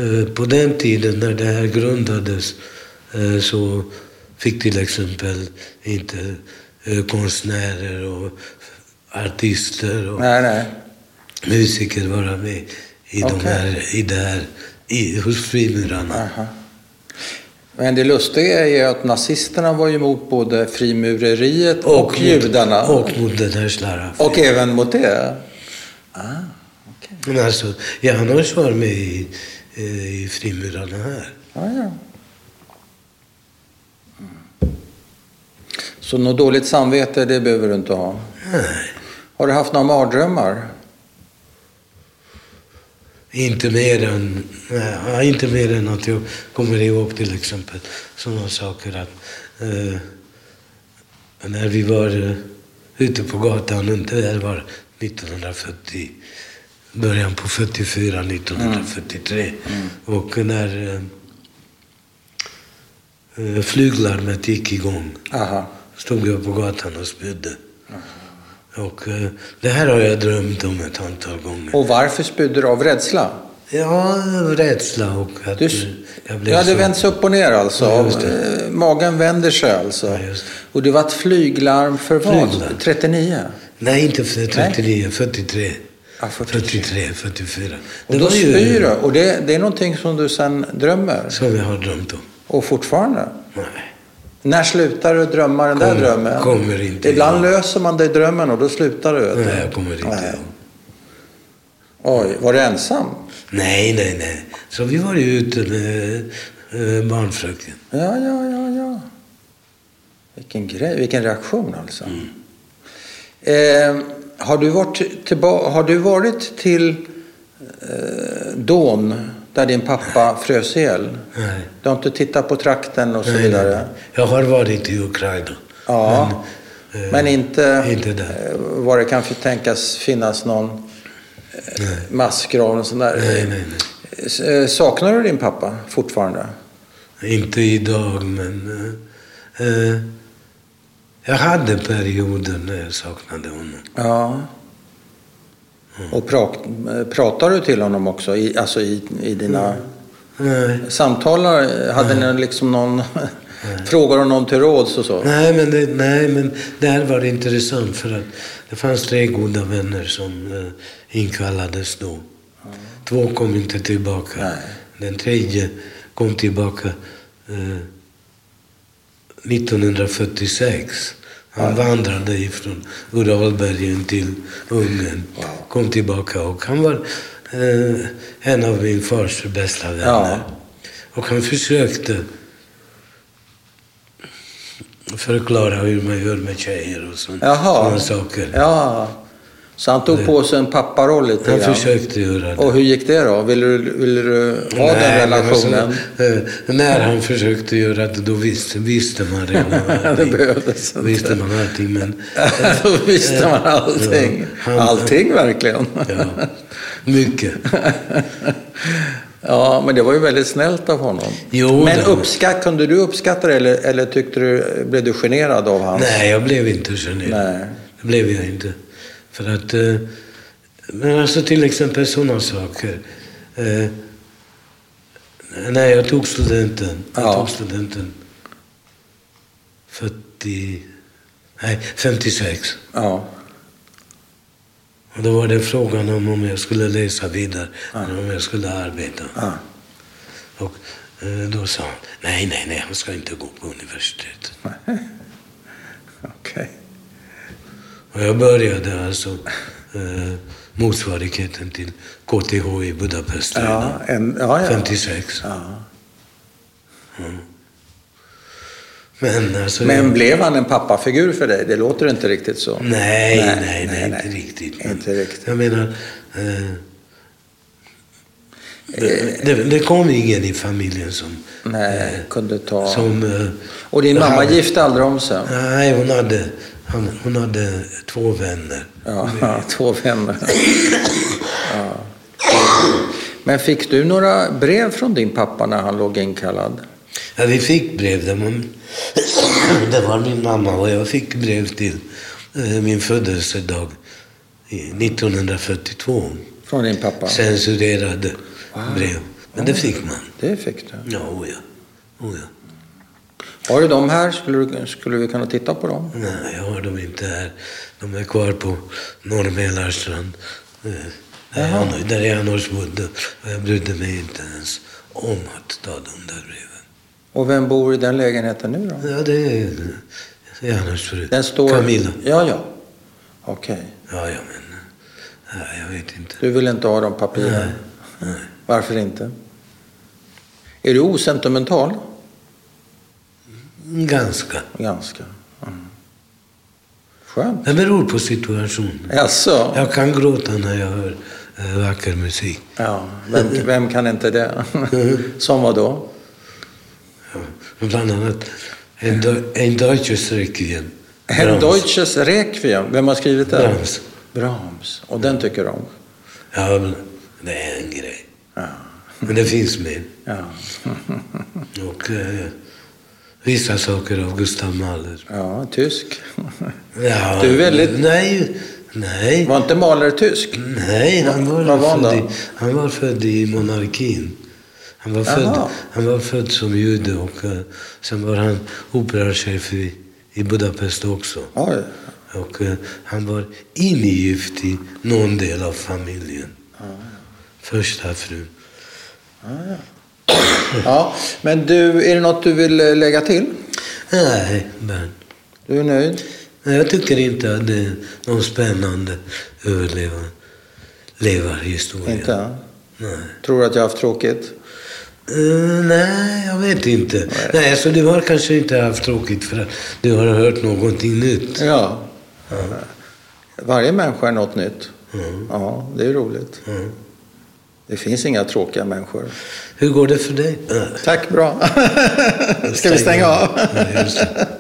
[SPEAKER 1] eh, på den tiden när det här grundades eh, så fick till exempel inte eh, konstnärer och artister och
[SPEAKER 2] Nej, nej.
[SPEAKER 1] musiker vara med i, de
[SPEAKER 2] Okej.
[SPEAKER 1] här, i det här, i, hos frimurarna.
[SPEAKER 2] Aha. Men det lustiga är ju att nazisterna var ju emot både frimureriet och,
[SPEAKER 1] mot-
[SPEAKER 2] judarna.
[SPEAKER 1] Och mot den här slarven.
[SPEAKER 2] Och även mot det. Ah, okej.
[SPEAKER 1] Men alltså, jag annars var med i, eh, i frimurarna här.
[SPEAKER 2] Ja, ja. Så något dåligt samvete, det behöver du inte ha.
[SPEAKER 1] Nej,
[SPEAKER 2] Har du haft några mardrömmar?
[SPEAKER 1] Inte mer, än, nej, inte mer än att jag kommer ihåg till exempel sådana saker att eh, när vi var eh, ute på gatan, det här var 1940, början på 44, 1943. Och när eh, eh, flyglarmet gick igång
[SPEAKER 2] Aha.
[SPEAKER 1] stod jag på gatan och spydde. Och eh, det här har jag drömt om ett antal gånger.
[SPEAKER 2] Och varför spydde du av rädsla?
[SPEAKER 1] Ja, rädsla och att
[SPEAKER 2] Du,
[SPEAKER 1] eh,
[SPEAKER 2] s-
[SPEAKER 1] jag blev
[SPEAKER 2] ja, det
[SPEAKER 1] så...
[SPEAKER 2] vänds upp och ner alltså.
[SPEAKER 1] Ja, just det.
[SPEAKER 2] Eh, Magen vänder sig alltså.
[SPEAKER 1] Ja, just det.
[SPEAKER 2] och det var ett flyglarm för vad?
[SPEAKER 1] Flyglarm.
[SPEAKER 2] 39?
[SPEAKER 1] Nej, inte för 39, 43.
[SPEAKER 2] Ja, 43.
[SPEAKER 1] 43, 44.
[SPEAKER 2] Och då spyr du. Och det, det är någonting som du sen drömmer.
[SPEAKER 1] Som jag har drömt om.
[SPEAKER 2] Och fortfarande.
[SPEAKER 1] Nej.
[SPEAKER 2] När slutar du drömma den där
[SPEAKER 1] Kommer-
[SPEAKER 2] drömmen?
[SPEAKER 1] kommer inte
[SPEAKER 2] Ibland
[SPEAKER 1] ihåg.
[SPEAKER 2] löser man det i drömmen och då slutar du. vet du.
[SPEAKER 1] Nej, jag kommer inte
[SPEAKER 2] Nej.
[SPEAKER 1] ihåg.
[SPEAKER 2] Oj, var du ensam?
[SPEAKER 1] Nej, nej, nej. Så vi var ju ute med eh, barnfröken.
[SPEAKER 2] Ja, ja, ja, ja. Vilken grej, vilken reaktion alltså.
[SPEAKER 1] Mm.
[SPEAKER 2] Eh, har, du varit tillba- har du varit till eh, Don där din pappa frös ihjäl?
[SPEAKER 1] Nej.
[SPEAKER 2] Du har inte tittat på trakten och så
[SPEAKER 1] Nej,
[SPEAKER 2] vidare?
[SPEAKER 1] nej, nej. Jag har varit i Ukraina.
[SPEAKER 2] Ja, men,
[SPEAKER 1] Men, eh,
[SPEAKER 2] inte,
[SPEAKER 1] inte där.
[SPEAKER 2] eh, vad det kan för tänkas finnas någon eh, massgrav och sånt där.
[SPEAKER 1] Nej, nej,
[SPEAKER 2] S- eh, Saknar du din pappa fortfarande?
[SPEAKER 1] Inte idag, men... Eh, eh, jag hade perioder när jag saknade honom.
[SPEAKER 2] Ja. Och pra- eh, pratar du till honom också? I, alltså i, i dina
[SPEAKER 1] Nej,
[SPEAKER 2] samtalar? Hade ni liksom någon... [laughs] frågar honom till råds och så?
[SPEAKER 1] nej, men det, nej, men det här var intressant för att det fanns tre goda vänner som eh, inkallades då. Två kom inte tillbaka.
[SPEAKER 2] Nej.
[SPEAKER 1] Den tredje kom tillbaka eh, 1946. Han vandrade ifrån Uralbergen till Ungern. Kom tillbaka och han var eh, en av min fars bästa vänner.
[SPEAKER 2] Ja.
[SPEAKER 1] Och han försökte förklara hur man gör med tjejer och sånt-
[SPEAKER 2] Jaha.
[SPEAKER 1] sådana saker.
[SPEAKER 2] Ja. Så han tog på sig en papparoll lite
[SPEAKER 1] Han
[SPEAKER 2] grann.
[SPEAKER 1] försökte göra det.
[SPEAKER 2] Och hur gick det då? Ville du, ville du ha den
[SPEAKER 1] men
[SPEAKER 2] relationen?
[SPEAKER 1] alltså, eh, när han försökte göra det, då visste, visste man
[SPEAKER 2] [laughs]
[SPEAKER 1] redan
[SPEAKER 2] det
[SPEAKER 1] allting.
[SPEAKER 2] behövdes
[SPEAKER 1] Då
[SPEAKER 2] inte.
[SPEAKER 1] visste man allting, men...
[SPEAKER 2] [laughs] Då visste man
[SPEAKER 1] Eh,
[SPEAKER 2] allting.
[SPEAKER 1] ja, han-
[SPEAKER 2] allting verkligen.
[SPEAKER 1] Ja, mycket.
[SPEAKER 2] [laughs] Ja, men det var ju väldigt snällt av honom.
[SPEAKER 1] Jo,
[SPEAKER 2] men
[SPEAKER 1] det var-
[SPEAKER 2] uppskatt, kunde du uppskatta det eller, eller tyckte du, blev du generad av hans?
[SPEAKER 1] Nej, jag blev inte generad.
[SPEAKER 2] Nej.
[SPEAKER 1] Det blev jag inte. För att... eh, Men alltså till exempel sådana saker. Eh, Nej, jag tog studenten. Jag
[SPEAKER 2] Ja.
[SPEAKER 1] tog studenten 40... Nej, 56.
[SPEAKER 2] Ja.
[SPEAKER 1] Och då var det frågan om, om jag skulle läsa vidare, eller om jag skulle arbeta.
[SPEAKER 2] ja.
[SPEAKER 1] Och eh, då sa han, nej, nej, nej, han ska inte gå på universitetet.
[SPEAKER 2] [laughs] Okej.
[SPEAKER 1] Och jag började alltså eh, motsvarigheten till KTH i Budapest
[SPEAKER 2] Ja, en, ja, ja.
[SPEAKER 1] 56.
[SPEAKER 2] Ja.
[SPEAKER 1] Men alltså...
[SPEAKER 2] Men
[SPEAKER 1] jag-
[SPEAKER 2] blev han en pappafigur för dig? Det låter inte riktigt så.
[SPEAKER 1] Nej,
[SPEAKER 2] Nej,
[SPEAKER 1] nej, nej,
[SPEAKER 2] nej,
[SPEAKER 1] inte
[SPEAKER 2] nej.
[SPEAKER 1] riktigt. Men
[SPEAKER 2] Inte riktigt.
[SPEAKER 1] Jag menar... Eh, det, det, det kom ingen i familjen som...
[SPEAKER 2] Nej, kunde ta...
[SPEAKER 1] som eh,
[SPEAKER 2] Och din mamma
[SPEAKER 1] hade-
[SPEAKER 2] gifte aldrig om sig?
[SPEAKER 1] Nej, hon hade, han, hon hade två vänner.
[SPEAKER 2] Ja, [laughs] två vänner. Ja. Men fick du några brev från din pappa när han låg inkallad?
[SPEAKER 1] Ja, vi fick brev. Det var, det var min mamma och jag fick brev till eh, min födelsedag i 1942.
[SPEAKER 2] Från din pappa?
[SPEAKER 1] Censurerade brev. Men det fick man.
[SPEAKER 2] Det fick du.
[SPEAKER 1] Ja, oh ja. Oh ja.
[SPEAKER 2] Har du dem här? Skulle, du, skulle vi kunna titta på dem?
[SPEAKER 1] Nej, jag har dem inte här. De är kvar på Norr Mälarstrand. Eh, där
[SPEAKER 2] Jaha.
[SPEAKER 1] jag- Där jag annars bodde. Och jag brydde mig inte ens om att ta de där breven.
[SPEAKER 2] Och vem bor i den lägenheten nu då?
[SPEAKER 1] Ja, det är Jannes fru.
[SPEAKER 2] Den står...
[SPEAKER 1] Camilla.
[SPEAKER 2] Ja, ja. Okej.
[SPEAKER 1] Ja, ja, men... Ja, jag vet inte.
[SPEAKER 2] Du vill inte ha de papperen?
[SPEAKER 1] Nej.
[SPEAKER 2] Varför inte? Är du osentimental?
[SPEAKER 1] Ganska.
[SPEAKER 2] Ganska. Mm. Skönt. Alltså.
[SPEAKER 1] Det beror på situationen.
[SPEAKER 2] Jaså?
[SPEAKER 1] Jag kan gråta när jag hör eh, vacker musik.
[SPEAKER 2] Ja, vem, vem kan inte det? Som vad då?
[SPEAKER 1] Ja. Bland annat En, Deu- en Deutsches Requiem.
[SPEAKER 2] En
[SPEAKER 1] Brahms.
[SPEAKER 2] Deutsches Requiem. Vem har skrivit den?
[SPEAKER 1] Brahms.
[SPEAKER 2] Brahms. Och den tycker du om?
[SPEAKER 1] Ja, men det är en grej.
[SPEAKER 2] Ja.
[SPEAKER 1] Men det finns mer.
[SPEAKER 2] ja.
[SPEAKER 1] Och eh, vissa saker av Gustav Mahler.
[SPEAKER 2] [laughs] Ja, [laughs] tysk.
[SPEAKER 1] Ja,
[SPEAKER 2] Du är väldigt-
[SPEAKER 1] Nej, nej.
[SPEAKER 2] Var inte Mahler tysk?
[SPEAKER 1] Nej, han var,
[SPEAKER 2] Vad var han
[SPEAKER 1] född,
[SPEAKER 2] då?
[SPEAKER 1] i, han var född i monarkin. Han var, född,
[SPEAKER 2] Jaha.
[SPEAKER 1] han var född som jude och eh, sen var han operachef i, i Budapest också.
[SPEAKER 2] Oj.
[SPEAKER 1] Och eh, han var ingift i någon del av familjen. Första frun.
[SPEAKER 2] Ja, men du, är det något du vill eh, lägga till?
[SPEAKER 1] Nej, Bernt.
[SPEAKER 2] Du är nöjd?
[SPEAKER 1] Nej, jag tycker inte att det är någon spännande överleva- levarhistoria.
[SPEAKER 2] Inte? än.
[SPEAKER 1] Nej.
[SPEAKER 2] Tror du att jag har haft tråkigt?
[SPEAKER 1] Eh, nej, jag vet inte. Nej. så du har kanske inte haft tråkigt för att du har hört någonting nytt.
[SPEAKER 2] Ja. Varje människa är något nytt.
[SPEAKER 1] Mm.
[SPEAKER 2] Ja, det är roligt.
[SPEAKER 1] Mm.
[SPEAKER 2] Det finns inga tråkiga människor. [laughs]
[SPEAKER 1] Hur går det för dig? Eh,
[SPEAKER 2] Tack, bra. [laughs] Ska vi stänga av?
[SPEAKER 1] Ja, just det.